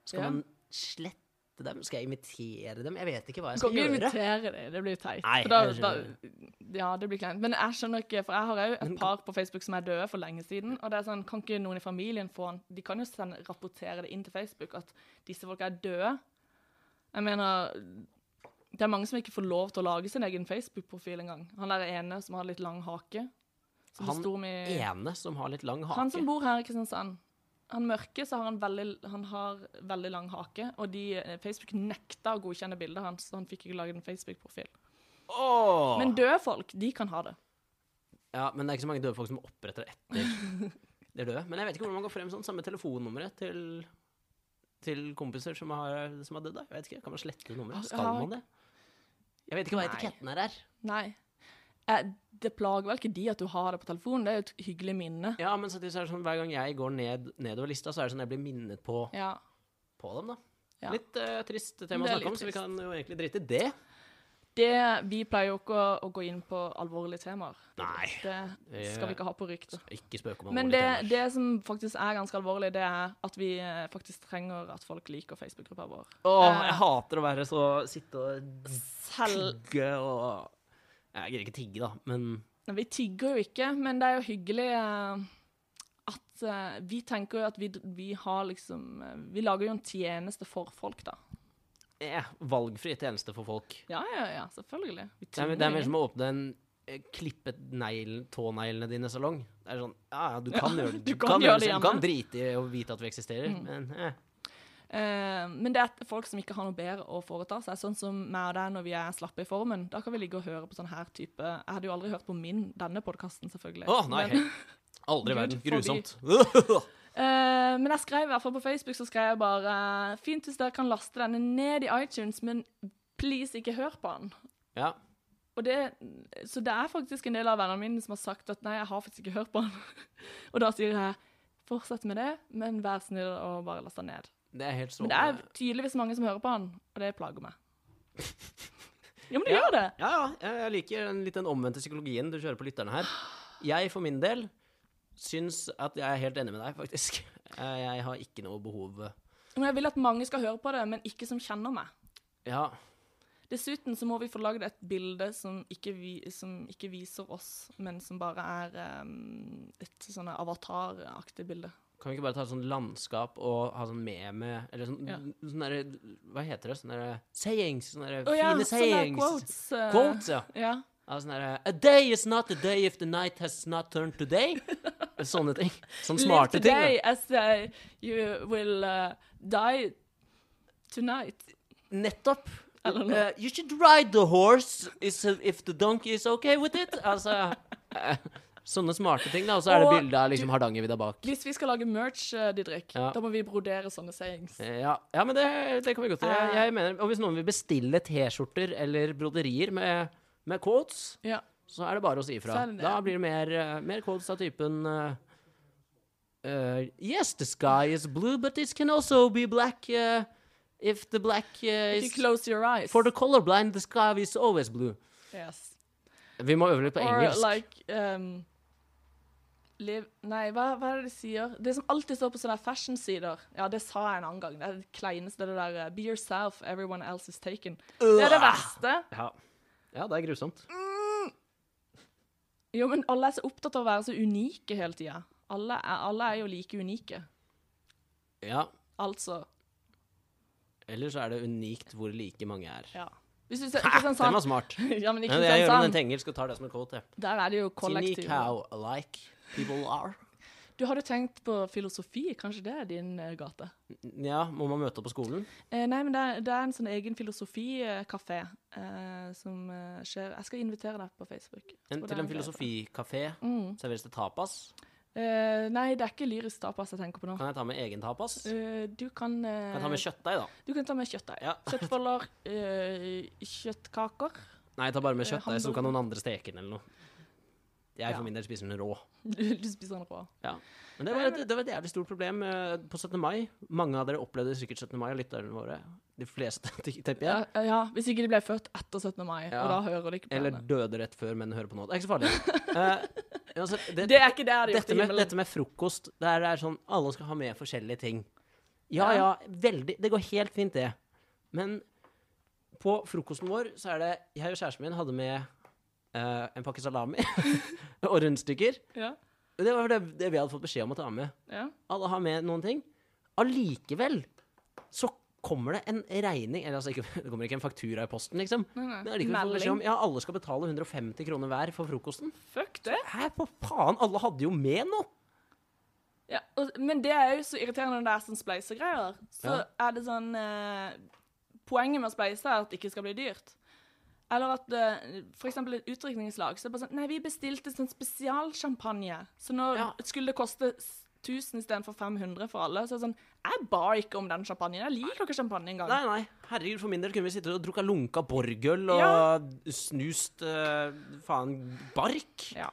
Skal Ja. man slette dem? Skal jeg imitere dem? Jeg vet ikke hva jeg Du skal kan ikke gjøre. invitere dem, det blir jo teit. Nei, For da, jeg da, skjønner ja, det blir kleint. Men jeg skjønner ikke, for jeg har òg et par på Facebook som er døde for lenge siden. Og det er sånn, kan ikke noen i familien få den? De kan jo sende, rapportere det inn til Facebook at disse folka er døde. Jeg mener Det er mange som ikke får lov til å lage sin egen Facebook-profil engang. Han der ene som har litt lang hake. Som Han det sto om i Ene som har litt lang hake. Han som bor her i Kristiansand, han mørke, så har han veldig, han har veldig lang hake. Og de, eh, Facebook nekta å godkjenne bildet hans, så han fikk ikke lage en Facebook-profil. Åh! Men døde folk, de kan ha det. Ja, men det er ikke så mange døde folk som oppretter etter de er døde. Men jeg vet ikke hvordan man går frem sånn. Samme telefonnummeret til, til kompiser som har, som har dødd. Altså, da. Jeg vet ikke, Kan man slette nummeret? Skal man det? Jeg vet ikke hva Nei. etiketten her er. Nei. eh, det plager vel ikke de at du har det på telefonen, det er jo et hyggelig minne. Ja, men samtidig så er det sånn hver gang jeg går ned, nedover lista, så er det sånn jeg blir minnet på, Ja. på dem, da. Ja. Litt eh, trist tema å Det er snakke om, litt så vi kan jo egentlig drite i det. Det, vi pleier jo ikke å, å gå inn på alvorlige temaer. Nei. Det skal vi ikke ha på ryktet. Ikke spøke om Men alvorlige det, temaer. det som faktisk er ganske alvorlig, det er at vi eh, faktisk trenger at folk liker Facebook-gruppa vår. Åh, Eh, jeg hater å være så Sitte og Selv tigge og Jeg gidder ikke tigge, da, men Nei, Vi tigger jo ikke, men det er jo hyggelig eh, at eh, Vi tenker jo at vi, vi har liksom eh, Vi lager jo en tjeneste for folk, da. eh, valgfri tjeneste for folk. Ja, ja, ja, selvfølgelig. Vi Det er, tvinger det er mer ingen. som å åpne en eh, klippet negl, tåneglene dine salong. Det er sånn, ja, ja, du kan gjøre det. du kan gjøre det selv. Du kan hjemme. Mm. drite i å vite at vi eksisterer, men eh. Eh, men det er folk som ikke har noe bedre å foreta seg. Sånn som meg og deg når vi er slappe i formen. Da kan vi ligge og høre på sånn her type Jeg hadde jo aldri hørt på min, denne podkasten, selvfølgelig. Å, nei. Men, Aldri i Gud verden. forby. Grusomt. eh, men jeg skrev i hvert fall på Facebook så skrev jeg bare Fint hvis dere kan laste denne ned i iTunes, men please, ikke hør på den. ja. Og det, så det er faktisk en del av vennene mine som har sagt at nei, jeg har faktisk ikke hørt på den. og da sier jeg fortsett med det, men vær snill og bare last den ned. Det er helt Men det er strålende. tydeligvis mange som hører på den, og det plager meg. Ja, men det gjør det! Ja, ja. jeg- Jeg liker den- litt den omvendte psykologien du kjører på lytterne her. Jeg for min del syns at jeg er helt enig med deg, faktisk. Eh, Jeg har ikke noe behov Men jeg vil at mange skal høre på det, men ikke som kjenner meg. Ja. Dessuten så må vi få lagd et bilde som ikke, vi, som ikke viser oss, men som bare er em, et sånn avataraktig bilde. Kan vi ikke bare ta et sånt landskap og ha sånn meme Eller sånn Ja. sånn derre Hva heter det? Sånne derre sayings. Sånne derre Å ja, fine sånne sayings. quotes. eh, Quotes, ja. ja. Ja, sånn derre A day is not a day if the night has not turned to day. Sånne ting. Sånne smarte Live today ting. Da. as uh, you will uh, die tonight. Nettopp. Eller noe. Eh, you should ride the horse is, if the donkey is okay with it. Altså eh, Sånne smarte ting, da. Og så er det Og bilde av liksom Hardangervidda bak. Hvis vi skal lage merch, uh, Didrik, Ja. da må vi brodere sånne sayings. Eh, Ja, ja men det, det kan vi godt gjøre. Jeg, jeg mener, og hvis noen vil bestille T-skjorter eller broderier med, med quotes, Ja. så er det bare å si ifra. Så er det det. Da blir det mer, eh, mer quotes av typen eh, eh, Yes, the sky is blue, but it can also be black eh, if the black eh, If you is close your eyes. For the colorblind, the sky is always blue. yes. Vi må øve litt på Or engelsk. like um, live, Nei, hva, hva er det de sier? Det som alltid står på sånne fashion-sider. Ja, det sa jeg en annen gang. Det er det kleineste, det der uh, Be yourself, everyone else is taken. Det er det verste. ja. ja, det er grusomt. Jo, men alle er så opptatt av å være så unike hele tida. Alle, er- alle er jo like unike. Ja. Altså Eller så er det unikt hvor like mange er. Ja. Hvis du ser Ha, den Kristiansand var smart. Ja, men i Men jeg gjør om den Kristiansand, til engelsk og tar det som en quote. jeg. der er det jo Unique kollektiv. how alike people are. Du hadde tenkt på filosofi, kanskje det er din eh, gate? Ja, må man møte opp på skolen? Eh, nei, men det er, det er en sånn egen filosofikafé eh, som eh, skjer Jeg skal invitere deg på Facebook. Jeg En, tror det til er en greie for deg. filosofikafé Mm. serveres det tapas. Eh, nei, det er ikke lyrisk tapas jeg tenker på nå. Kan jeg ta med egen tapas? Kan Eh, du kan, eh, jeg ta med kjøttdeig, da? Du kan ta med kjøttdeig. Ja. Kjøttboller, eh, kjøttkaker. Nei, jeg tar bare med Eh, kjøttdeig, så hamburger. kan noen andre steke den eller noe. Jeg Ja. for min del spiser den rå. Du, du spiser den rå. Ja. Men det var, et, det var et jævlig stort problem eh, på 17. mai. Mange av dere opplevde sikkert 17. mai og lytterne våre. De fleste, tipper Ja. jeg. eh, ja, Hvis ikke de ble født etter 17. mai, Ja. og da hører de ikke på Eller henne. døde rett før, men hører på nå. Det er ikke så farlig. Eh, uansett, det, Det er ikke det jeg hadde gjort dette, i med, himmelen. dette med frokost, det er, det er sånn alle skal ha med forskjellige ting. Ja ja, Ja. veldig. Det går helt fint, det. Men på frokosten vår så er det Jeg og kjæresten min hadde med eh, en pakke salami og rundstykker. Ja, Det var det, det vi hadde fått beskjed om å ta med. ja. Alle har med noen ting. Allikevel så kommer det en regning Eller altså, ikke, det kommer ikke en faktura i posten, liksom. Nei, nei. Men allikevel får vi beskjed om Melding. Ja, alle skal betale 150 kroner hver for frokosten. Fuck det. Hæ, for faen? Alle hadde jo med noe! Ja, og, men det er jo så irriterende når det er sånn spleisegreier. Så Ja. er det sånn eh, Poenget med å spleise er at det ikke skal bli dyrt. Eller at eh, for eksempel et utdrikningslag så er det bare sånn Nei, vi bestilte sånn spesialsjampanje, så nå Ja. skulle det koste s- 1000 istedenfor 500 for alle. Så er det sånn, jeg bar ikke om den champagnen. Jeg liker ikke champagne engang. Nei, nei. Herregud, for min del kunne vi sittet og drukket lunka borgøl og Ja. snust eh, faen bark. Ja.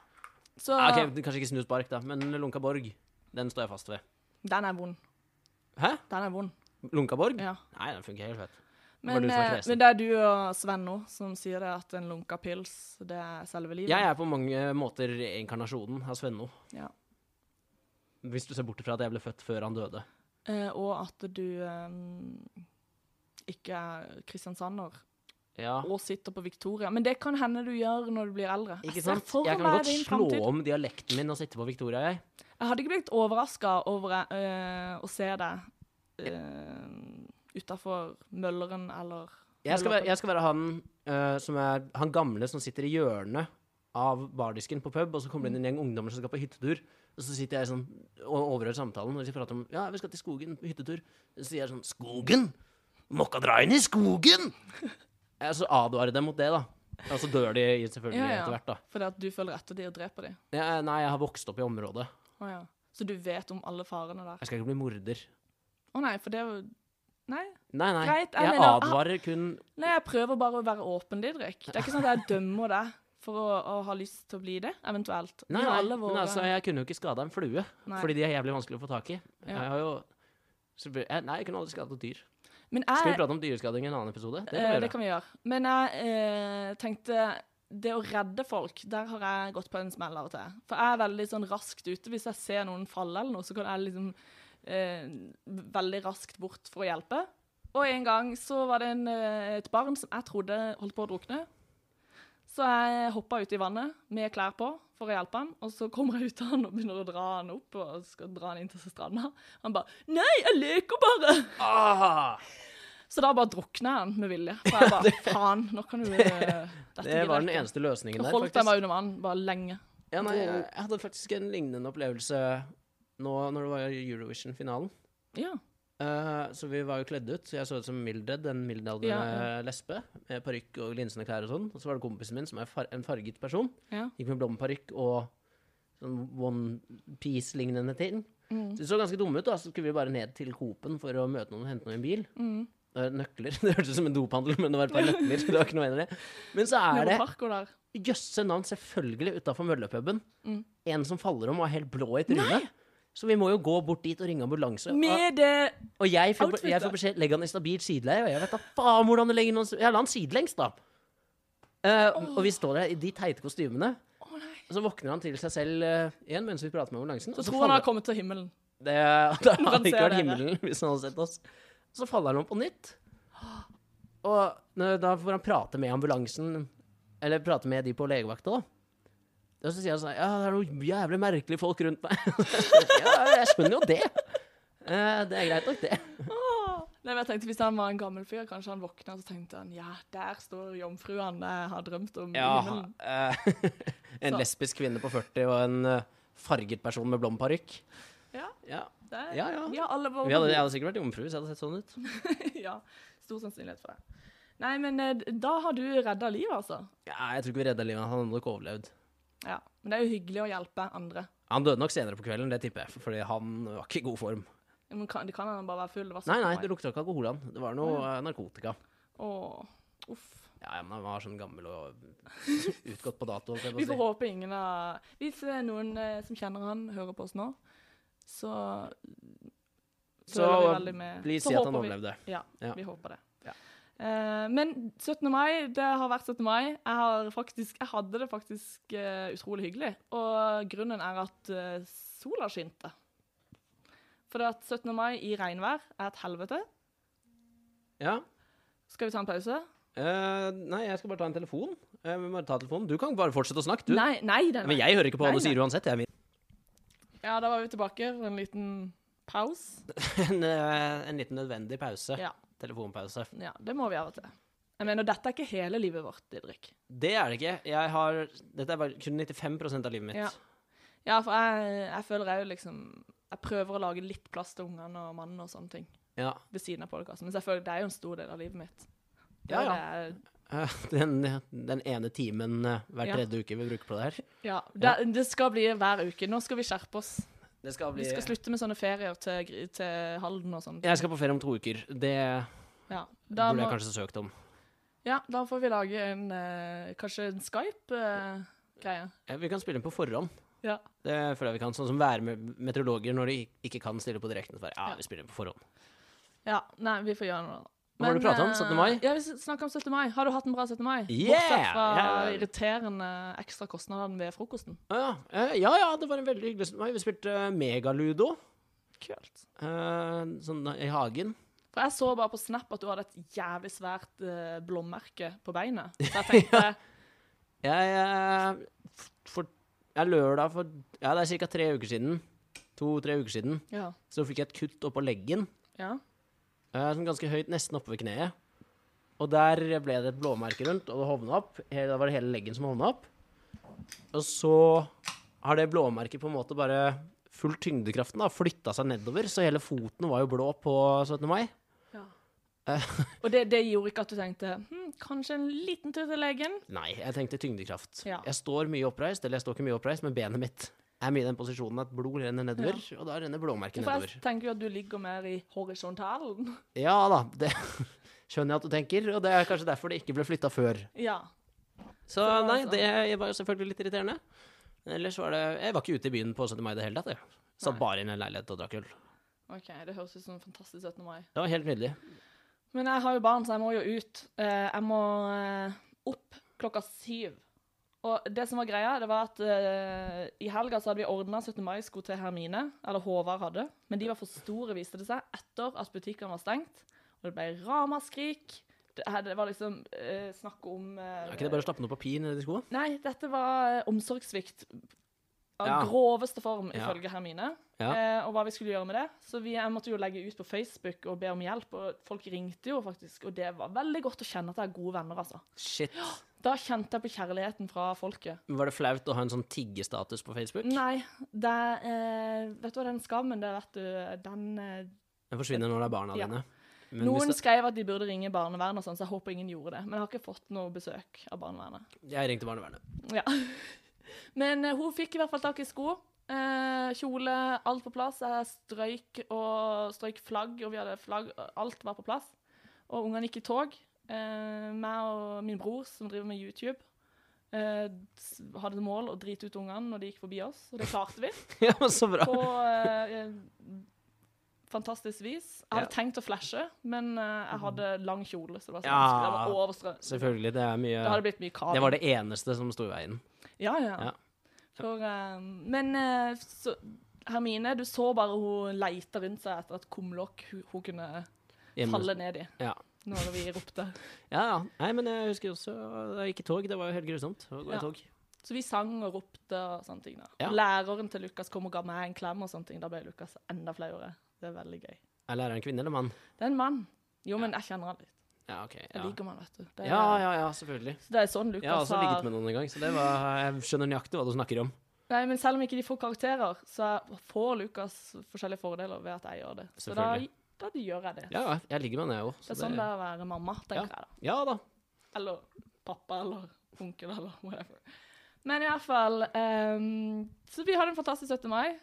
Så Ah, ok, kanskje ikke snust bark, da, men lunka borg. Den står jeg fast ved. den er vond. Hæ? Den er vond. Lunka borg? Ja. Nei, den funker helt fett. var Men, du som var eh, kresen. men det er du og Sven nå som sier det at en lunka pils, det er selve livet. Jeg er på mange måter reinkarnasjonen av Svenno. Ja. Hvis du ser bort ifra at jeg ble født før han døde. Eh, og at du eh, ikke er kristiansander Ja. og sitter på Victoria. Men det kan hende du gjør når du blir eldre. Ikke Jeg ser sant? altså, for Jeg kan meg godt din slå fremtid. om dialekten min og sitte på Victoria, jeg. Jeg hadde ikke blitt overraska over eh, å se deg uh, utafor Mølleren eller Jeg skal Mølleren. være, jeg skal være han, eh, som er, han gamle som sitter i hjørnet av bardisken på pub, og så kommer det inn en gjeng ungdommer som skal på hyttetur. Og så sitter jeg sånn og overhører samtalen, og de prater om ja, vi skal til skogen på hyttetur. Så sier jeg sånn Skogen? Måka dra inn i skogen! Jeg så advarer jeg dem mot det, da. Og så dør de i- selvfølgelig Ja, ja. etter hvert, da. Fordi at du følger etter de og dreper de. Jeg, nei, jeg har vokst opp i området. Å ja. Så du vet om alle farene der. Jeg skal ikke bli morder. Å nei, for det er jo Nei. Nei, nei. Greit, jeg jeg mener- advarer kun Nei, jeg prøver bare å være åpen, Didrik. Det er ikke sånn at jeg dømmer deg for å, å ha lyst til å bli det, eventuelt. Vi Nei, har nei. alle våre- men altså, jeg kunne jo ikke skada en flue, Nei. fordi de er jævlig vanskelig å få tak i. Ja. Jeg har jo så ble- jeg, Nei, jeg kunne aldri skadet et dyr. Men Skal vi jeg, prate om dyreskading i en annen episode? Det det, kan vi Eh, det gjøre. kan vi gjøre. Men jeg eh, tenkte det å redde folk, der har jeg gått på en smell av og til. For jeg er veldig sånn raskt ute. Hvis jeg ser noen falle eller noe, så kan jeg liksom eh, veldig raskt bort for å hjelpe. Og en gang så var det en, eh, et barn som jeg trodde holdt på å drukne. Så jeg hoppa uti vannet med klær på for å hjelpe han, og så kommer jeg ut av han og begynner å dra han opp og skal dra han inn til stranda. Han bare 'Nei, jeg leker bare'. Ah, Så da bare drukna han med vilje. For jeg bare, faen, nå kan du eh, Dette det var den eneste løsningen der, Holdt faktisk. jeg meg under vann bare lenge. Ja, nei, jeg jeg hadde faktisk en lignende opplevelse nå når det var Eurovision-finalen. Ja. Eh, så vi var jo kledd ut. så Jeg så ut som Mildred, en middelaldrende Ja, lesbe. Med parykk og glinsende klær og sånn. Og så var det kompisen min, som er far en farget person. Ja. Gikk med blomparykk og sånn One Piece-lignende ting. Mm. Så det så ganske dumme ut, da. Så skulle vi bare ned til Coop-en for å møte noen og hente noe i en bil. Mm. Det var nøkler. Det hørtes ut som en dophandel, men det var et par nøkler. Det var ikke noe mer enn det. Men så Er er det der. jøsse navn, selvfølgelig, utafor møllepuben. Mm. En som faller om og er helt blå i trynet. Så vi må jo gå bort dit og ringe ambulanse. Og, Med det og jeg får, Outfit, jeg da. får beskjed legg han i stabilt sideleie, og jeg vet da faen hvordan du legger noen Jeg la han sidelengs, da. Eh, Og vi står der i de teite kostymene. Å nei. Og så våkner han til seg selv eh, igjen mens vi prater med ambulansen. Så og så tror han har faller- kommet til himmelen. det, det Når han hadde ikke ser vært dere. himmelen hvis han hadde sett oss. Så faller han om på nytt. Og når- da får han prate med ambulansen, eller prate med de på legevakta, da. Og så sier han sånn Ja, det er noen jævlig merkelige folk rundt meg. ja, jeg skjønner jo det. Eh, Det er greit nok, det. Åh. Nei, men jeg tenkte Hvis han var en gammel fyr, kanskje han våkna og så tenkte han, ja, der står jomfruen jeg har drømt om i himmelen. eh, en Så- lesbisk kvinne på 40 og en eh, farget person med blond parykk. Ja, Ja. det er, Ja, ja. alle våre Vi hadde, jeg hadde sikkert vært jomfru hvis jeg hadde sett sånn ut. ja, Stor sannsynlighet for det. Nei, men eh, da har du redda livet, altså. Ja, jeg tror ikke vi redda livet hans. Han hadde nok overlevd. Ja. Men det er jo hyggelig å hjelpe andre. Han døde nok senere på kvelden, det tipper jeg, fordi han var ikke i god form. Men kan, det kan han bare være full. Det var Nei, nei, sånn- det lukta ikke alkohol av han. Det var noe eh, narkotika. Åh, uff. Ja, ja, men han var sånn gammel og utgått på dato. holdt jeg på å Vi får si. håpe ingen av Hvis eh, noen eh, som kjenner han, hører på oss nå, så Så føler vi veldig med. please Så si at han håper vi- overlevde. Ja, Ja. vi håper det. Ja. Eh, men 17. mai, det har vært 17. mai. Jeg, har faktisk, jeg hadde det faktisk eh, utrolig hyggelig. Og grunnen er at eh, sola skinte. For det at 17. mai i regnvær er et helvete. Ja. Skal vi ta en pause? Eh, nei, jeg skal bare ta en telefon. Eh, vi må bare ta telefonen. Du kan bare fortsette å snakke, du. Nei, nei, den Men jeg hører ikke på hva Nei, du sier uansett. Jeg er min. Ja, da var vi tilbake for en liten pause. En, eh, en liten nødvendig pause. Ja. Telefonpause. ja, det må vi av og til. Jeg mener, dette er ikke hele livet vårt, Didrik. Det er det ikke. Jeg har Dette er bare kun 95 av livet mitt. Ja. Ja, for jeg, jeg føler jeg jo liksom Jeg prøver å lage litt plass til ungene og mannen og sånne ting Ja. ved siden av podkasten. Men selvfølgelig, det er jo en stor del av livet mitt. Det Ja, er ja. det Eh, Den, den ene timen eh, hver Ja. tredje uke vi bruker på det her. jeg- ja, det, det skal bli hver uke. Nå skal vi skjerpe oss. Det skal Vi bli skal slutte med sånne ferier til, Gri- til Halden og sånn. Jeg skal på ferie om to uker. Det Ja. Da, burde må, jeg kanskje søkt om. ja, da får vi lage en eh, kanskje en Skype-greie. Eh, Vi kan spille inn på forhånd. ja. Det føler jeg vi kan. Sånn som værmeteorologer når de ikke kan stille på direkten. Så bare, ja, Ja. vi spiller inn på forhånd. ja. Nei, vi får gjøre noe da. Hva var det du pratet om? eh, 17. mai? Ja, vi s- snakker om 17. mai. Har du hatt en bra 17. mai? Yeah! Bortsett fra Ja. de irriterende ekstra kostnadene ved frokosten. Å Ja, Eh, ja, ja, det var en veldig hyggelig mai. Vi spilte eh, megaludo Kult. eh, sånn i hagen. For jeg så bare på Snap at du hadde et jævlig svært eh, blåmerke på beinet. Så jeg tenkte Jeg eh, f- for, ja, lørdag for Ja, det er ca. tre uker siden. To-tre uker siden. Ja. Så fikk jeg et kutt oppå leggen. ja. eh, Sånn ganske høyt, nesten oppe ved kneet. Og der ble det et blåmerke rundt, og det hovna opp. Hele, da var det hele leggen som hovna opp. Og så har det blåmerket på en måte bare fulgt tyngdekraften, da, flytta seg nedover. Så hele foten var jo blå på 17. mai. Og det, det gjorde ikke at du tenkte hm, kanskje en liten tur til legen? Nei, jeg tenkte tyngdekraft. Ja. Jeg står mye oppreist, eller jeg står ikke mye oppreist, men benet mitt er mye i den posisjonen at blod renner nedover, og da renner blåmerket For nedover. jeg tenker jo at du ligger mer i horisontalen. Ja da, det skjønner jeg at du tenker, og det er kanskje derfor det ikke ble flytta før. Ja. Så Så, nei, altså. det var jo selvfølgelig litt irriterende. Ellers var det Jeg var ikke ute i byen på 17. mai i det hele tatt, jeg. Satt Nei. bare i en leilighet og drakk øl. OK, det høres ut som en fantastisk 17. mai. Det var helt nydelig. Men jeg har jo barn, så jeg må jo ut. Eh, jeg må eh, opp klokka syv. Og det som var greia, det var at eh, i helga så hadde vi ordna 17. mai-sko til Hermine, eller Håvard hadde, men de var for store, viste det seg, etter at butikkene var stengt. Og det ble ramaskrik. Det, her- det var liksom eh, snakk om eh, Er ikke det bare å stappe noe papir ned i skoa? Nei, dette var eh, omsorgssvikt av Ja. groveste form, Ja. ifølge Hermine. Ja. Eh, og hva vi skulle gjøre med det. Så vi jeg måtte jo legge ut på Facebook og be om hjelp, og folk ringte jo faktisk. Og det var veldig godt å kjenne at jeg er gode venner, altså. Shit. Da kjente jeg på kjærligheten fra folket. Men Var det flaut å ha en sånn tiggestatus på Facebook? Nei, det eh, Vet du hva, den skammen, det vet du Den eh, Den forsvinner når det er barna Ja. dine. Men hvis Noen det- skrev at de burde ringe barnevernet og sånn, så jeg håper ingen gjorde det. Men jeg har ikke fått noe besøk av barnevernet. Jeg ringte barnevernet. Ja. Men eh, hun fikk i hvert fall tak i sko. Eh, kjole, alt på plass. Jeg strøyk og strøyk flagg, og vi hadde flagg. og Alt var på plass. Og ungene gikk i tog. Eh, meg og min bror, som driver med YouTube, eh, s- hadde som mål å drite ut ungene når de gikk forbi oss, og det klarte vi Ja, men så bra. på eh, fantastisk vis. Jeg hadde Ja. Mhm. tenkt å flashe, men eh, jeg hadde lang kjole, så det var så Ja. vanskelig. Jeg var overstrø. Selvfølgelig. Det er mye Det hadde blitt mye kav. Det var det eneste som sto i veien. Ja, ja. Ja. For, eh, men eh, så, Hermine, du så bare hun leita rundt seg etter et kumlokk hun, hun kunne Hjemme. falle ned i Ja. når vi ropte. ja, ja. Nei, men jeg husker også da jeg gikk i tog. Det var jo helt grusomt å gå Ja. i tog. Så vi sang og ropte og sånne ting. da. Ja. Læreren til Lukas kom og ga meg en klem, og sånne ting. da ble Lukas enda flauere. Det er veldig gøy. Er læreren kvinne eller mann? Det er en mann. Jo, men jeg kjenner han litt. Ja, ok. Jeg Ja, liker man, vet du. Det er, ja, ja, ja selvfølgelig. Så det er sånn Lukas Jeg har også ligget har- med noen en gang, så det var, jeg skjønner nøyaktig hva du snakker om. Nei, men selv om ikke de får karakterer, så får Lukas forskjellige fordeler ved at jeg gjør det. Så da, Selvfølgelig. da gjør jeg det. Ja, ja, jeg ligger med henne, jeg òg. det er sånn det er å være mamma, tenker jeg da. Ja da. Eller pappa, eller onkel, eller whatever. Men i hvert fall ehm, Så vi hadde en fantastisk 17. mai.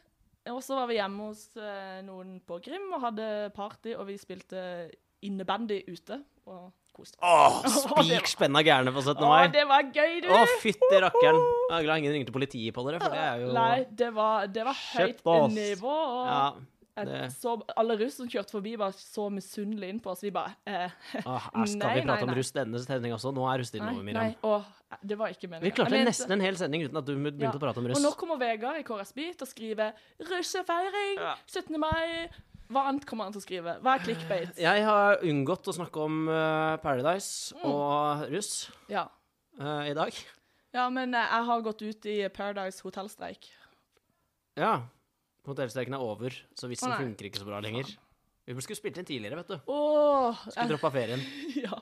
Og så var vi hjemme hos eh, noen på Grim og hadde party, og vi spilte innebandy ute og koste Åh, oss. det var- spik spenna gærne på 17. Å, mai. det var gøy, du! Å, fytti rakkeren. Jeg er glad ingen ringte politiet på dere, for det er jo Nei, det var, det var høyt Kjøpt oss. nivå. og- Ja. Jeg Det- så, alle russ som kjørte forbi, var så misunnelige inn på oss. Vi bare eh, Åh, æsj, skal Nei, vi prate nei, om nei. rust denne sendinga også? Nå er rusttiden Nei, over, nei. Miriam. Åh, det var ikke meningen. Vi klarte Jeg mente- nesten en hel sending uten at du begynte Ja. å prate om Og nå russ. kommer Vegard i KRS Beat og skriver 'russefeiring'! Ja. 17. mai. Hva annet kommer han til å skrive? Hva er clickbait? Jeg har unngått å snakke om eh, Paradise Mm. og russ Ja. eh, i dag. ja, men eh, jeg har gått ut i Paradise hotellstreik. Ja. Hotellstreken er over, så vitsen Å, nei. funker ikke så bra lenger. Vi burde skulle spilt inn tidligere, vet du. Åh, Skulle droppa ferien. ja.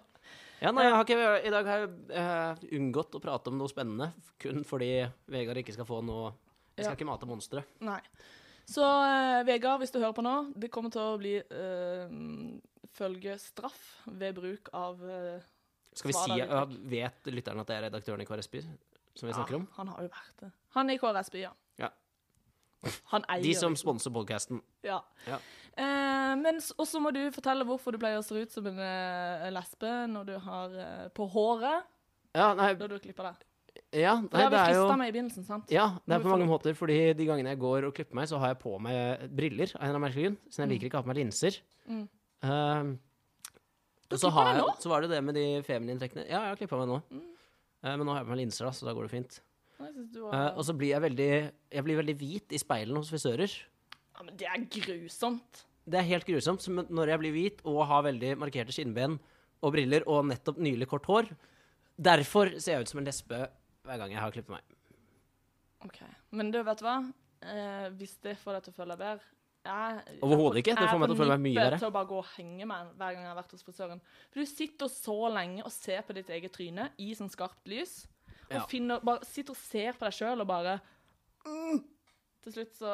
Ja, nei, jeg har ikke, I dag har jeg eh, unngått å prate om noe spennende, kun fordi Vegard ikke skal få noe Jeg skal Ja. ikke mate monstre. Nei. Så eh, Vegard, hvis du hører på nå, det kommer til å bli eh, følgestraff ved bruk av eh, Skal vi Svar si da, ja, Vet lytteren at det er redaktøren i KRSB som vi snakker om? Ja, han har jo vært det. Han er i KRS By, ja. Ja. Han eier De som liksom. sponser podkasten. Ja. Ja. Eh, men s- også må du fortelle hvorfor du pleier å se ut som en eh, lesbe når du har eh, på håret. Ja, nei, Da du klipper det. ja, For nei, det det har vi er jo frista med i begynnelsen, sant? Ja, det er Må vi på få mange lov- måter, fordi de gangene jeg går og klipper meg, så har jeg på meg briller, av en eller annen merkelig grunn, siden jeg liker ikke å ha på meg linser. Mm. Ehm, Du og så, klipper har deg jeg, nå? Mm. så var det det med de feminine trekkene. Ja, jeg har klippa meg nå. Eh, men nå har jeg på meg linser, da, så da går det fint. Jeg synes du Eh, var... og så blir jeg veldig Jeg blir veldig hvit i speilene hos frisører. ja, men det er grusomt. Det er helt grusomt. så men Når jeg blir hvit og har veldig markerte skinnben og briller og nettopp nylig kort hår Derfor ser jeg ut som en lesbe hver gang jeg har klippet meg. Ok, Men du, vet du hva? Eh, hvis det får deg til å føle deg bedre jeg- Overhodet ikke. jeg Det får meg er til å føle meg på mye nippet verre. til å bare gå og henge meg hver gang jeg har vært hos frisøren. For du sitter så lenge og ser på ditt eget tryne i sånn skarpt lys. Og Ja. finner, bare sitter og ser på deg sjøl og bare "Mm." Til slutt så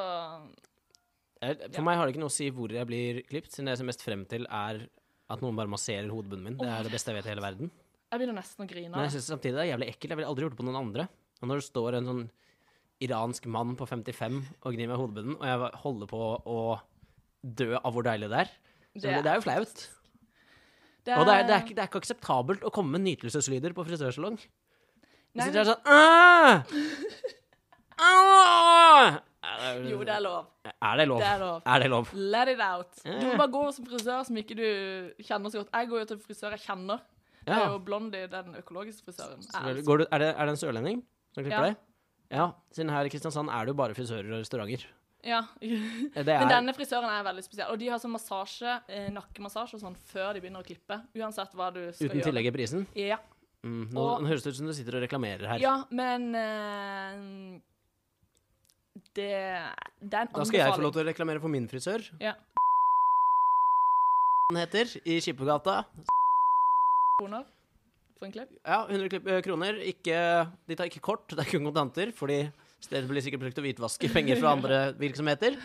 Jeg- For meg har det ikke noe å si hvor jeg blir klippet, siden det jeg ser mest frem til, er at noen bare masserer hodebunnen min. Det er det beste jeg vet i hele verden. Jeg begynner nesten å grine. Men av jeg det. synes samtidig det er jævlig ekkelt. Jeg ville aldri gjort det på noen andre. Og når det står en sånn iransk mann på 55 og gnir meg i hodebunnen, og jeg var- holder på å dø av hvor deilig det er, så det, det er jo flaut. Det Og det er, det, er ikke, det er ikke akseptabelt å komme med nytelseslyder på frisørsalong. Du Nei, sitter her sånn «Åh! Åh!» Er Jo, det er lov. Er det lov? Det er lov. Er det lov? Let it out. Ja. Du må bare gå som frisør som ikke du kjenner så godt. Jeg går jo til frisør jeg kjenner. Det er Ja. jo Blondie, den økologiske frisøren. Jeg Selvfølgelig. elsker Går du, er, det, er det en sørlending som klipper Ja. deg? Ja. Siden her i Kristiansand er det jo bare frisører og restauranter. Ja. Eh, Det er, Men denne frisøren er veldig spesiell. Og de har sånn massasje, eh, nakkemassasje og sånn før de begynner å klippe. Uansett hva du skal uten gjøre. tillegg i prisen. Ja. Mm, nå, Og- nå høres det ut som du sitter og reklamerer her. ja, men eh, det, det er en anbefaling. da skal jeg få lov til å reklamere for min frisør. Ja. Han heter i Skippergata. Kroner for en klipp. Ja, 100 klipp- eh, kroner. Ikke, de tar ikke kort, det er kun kontanter, fordi stedet blir sikkert brukt til å hvitvaske penger fra andre virksomheter.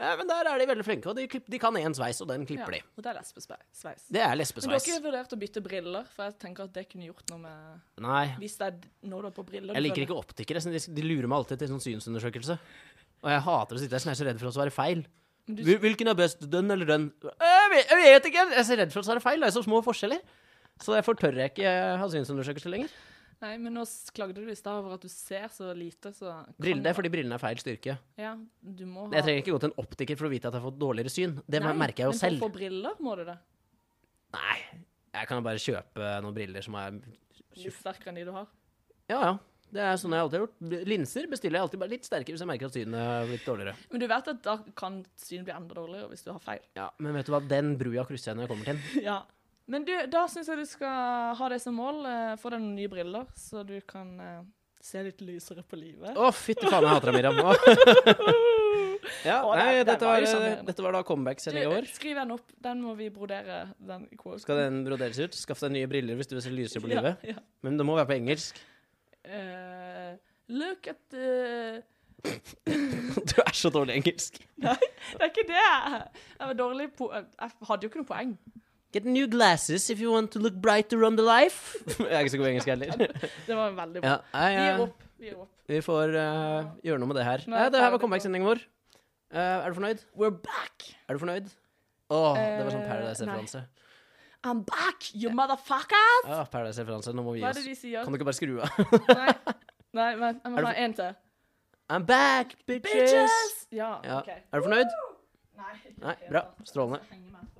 Eh, Men der er de veldig flinke, og de, klipp, de kan én sveis, og den klipper Ja. Og det er lesbesveis. de. Det er Men du har lesbesveis. ikke vurdert å bytte briller? For jeg tenker at det kunne gjort noe med Nei. Hvis det er d- når du er på briller Jeg liker ikke optikere. så De, de lurer meg alltid til sånn synsundersøkelse. Og jeg hater å sitte der, sånn jeg er så redd for å svare feil. du- Hvil- Hvilken er best, den eller den? Jeg vet, jeg vet ikke! Jeg er så redd for å svare feil. Det er så små forskjeller. Så derfor tør jeg ikke eh, ha synsundersøkelse lenger. Nei, men nå s- klagde du i stad over at du ser så lite, så kan Brille, det er fordi brillene er feil styrke. Ja, du må ha Jeg trenger ikke gå til en optiker for å vite at jeg har fått dårligere syn. Det Nei, merker jeg jo Men selv. for å få briller må du det. Nei, jeg kan bare kjøpe noen briller som er Litt sterkere enn de du har. Ja, ja. Det er sånn jeg alltid har gjort. Linser bestiller jeg alltid bare litt sterkere hvis jeg merker at synet har blitt dårligere. Men du vet at da kan synet bli enda dårligere hvis du har feil. Ja, Men vet du hva, den brua krysser jeg når jeg kommer til den. ja. Men du, da syns jeg du skal ha det som mål. Eh, få deg noen nye briller, så du kan eh, se litt lysere på livet. Å, fytti faen, jeg hater deg, Miriam. Å. ja, Å, det- nei, det dette var var, eh, jo sjarmerende. dette var da comeback-sending Du, over. skriv den opp. Den må vi brodere. Den quote. Skal den broderes ut? Skaff deg nye briller hvis du vil se lysere på livet. Ja, ja. Men det må være på engelsk. Eh, look at the Du er så dårlig i engelsk. Nei, det er ikke det! Jeg var dårlig på Jeg hadde jo ikke noe poeng. Get new glasses if you want to look brighter on the life. jeg er ikke så god i engelsk heller. Det var veldig bra. ja, nei, Vi gir eh, opp. Vi gir opp. vi får eh, gjøre noe med det her. Nå er Nei, jeg det her var ferdig på- comeback-sendingen vår. Eh, er du fornøyd? We're back! Er du fornøyd? Å, det var sånn Eh, Paradise-referanse. I'm back, you motherfucker! Ja, Paradise-referanse. Nå må vi gi Hva er det oss. de sier? Kan du ikke bare skru av? Nei, Nei vent, jeg må Er det ha en til. I'm back, bitches! Ja, Ja. OK. Er du fornøyd? Nei. altså. Nei, bra. Strålende. Jeg henger meg.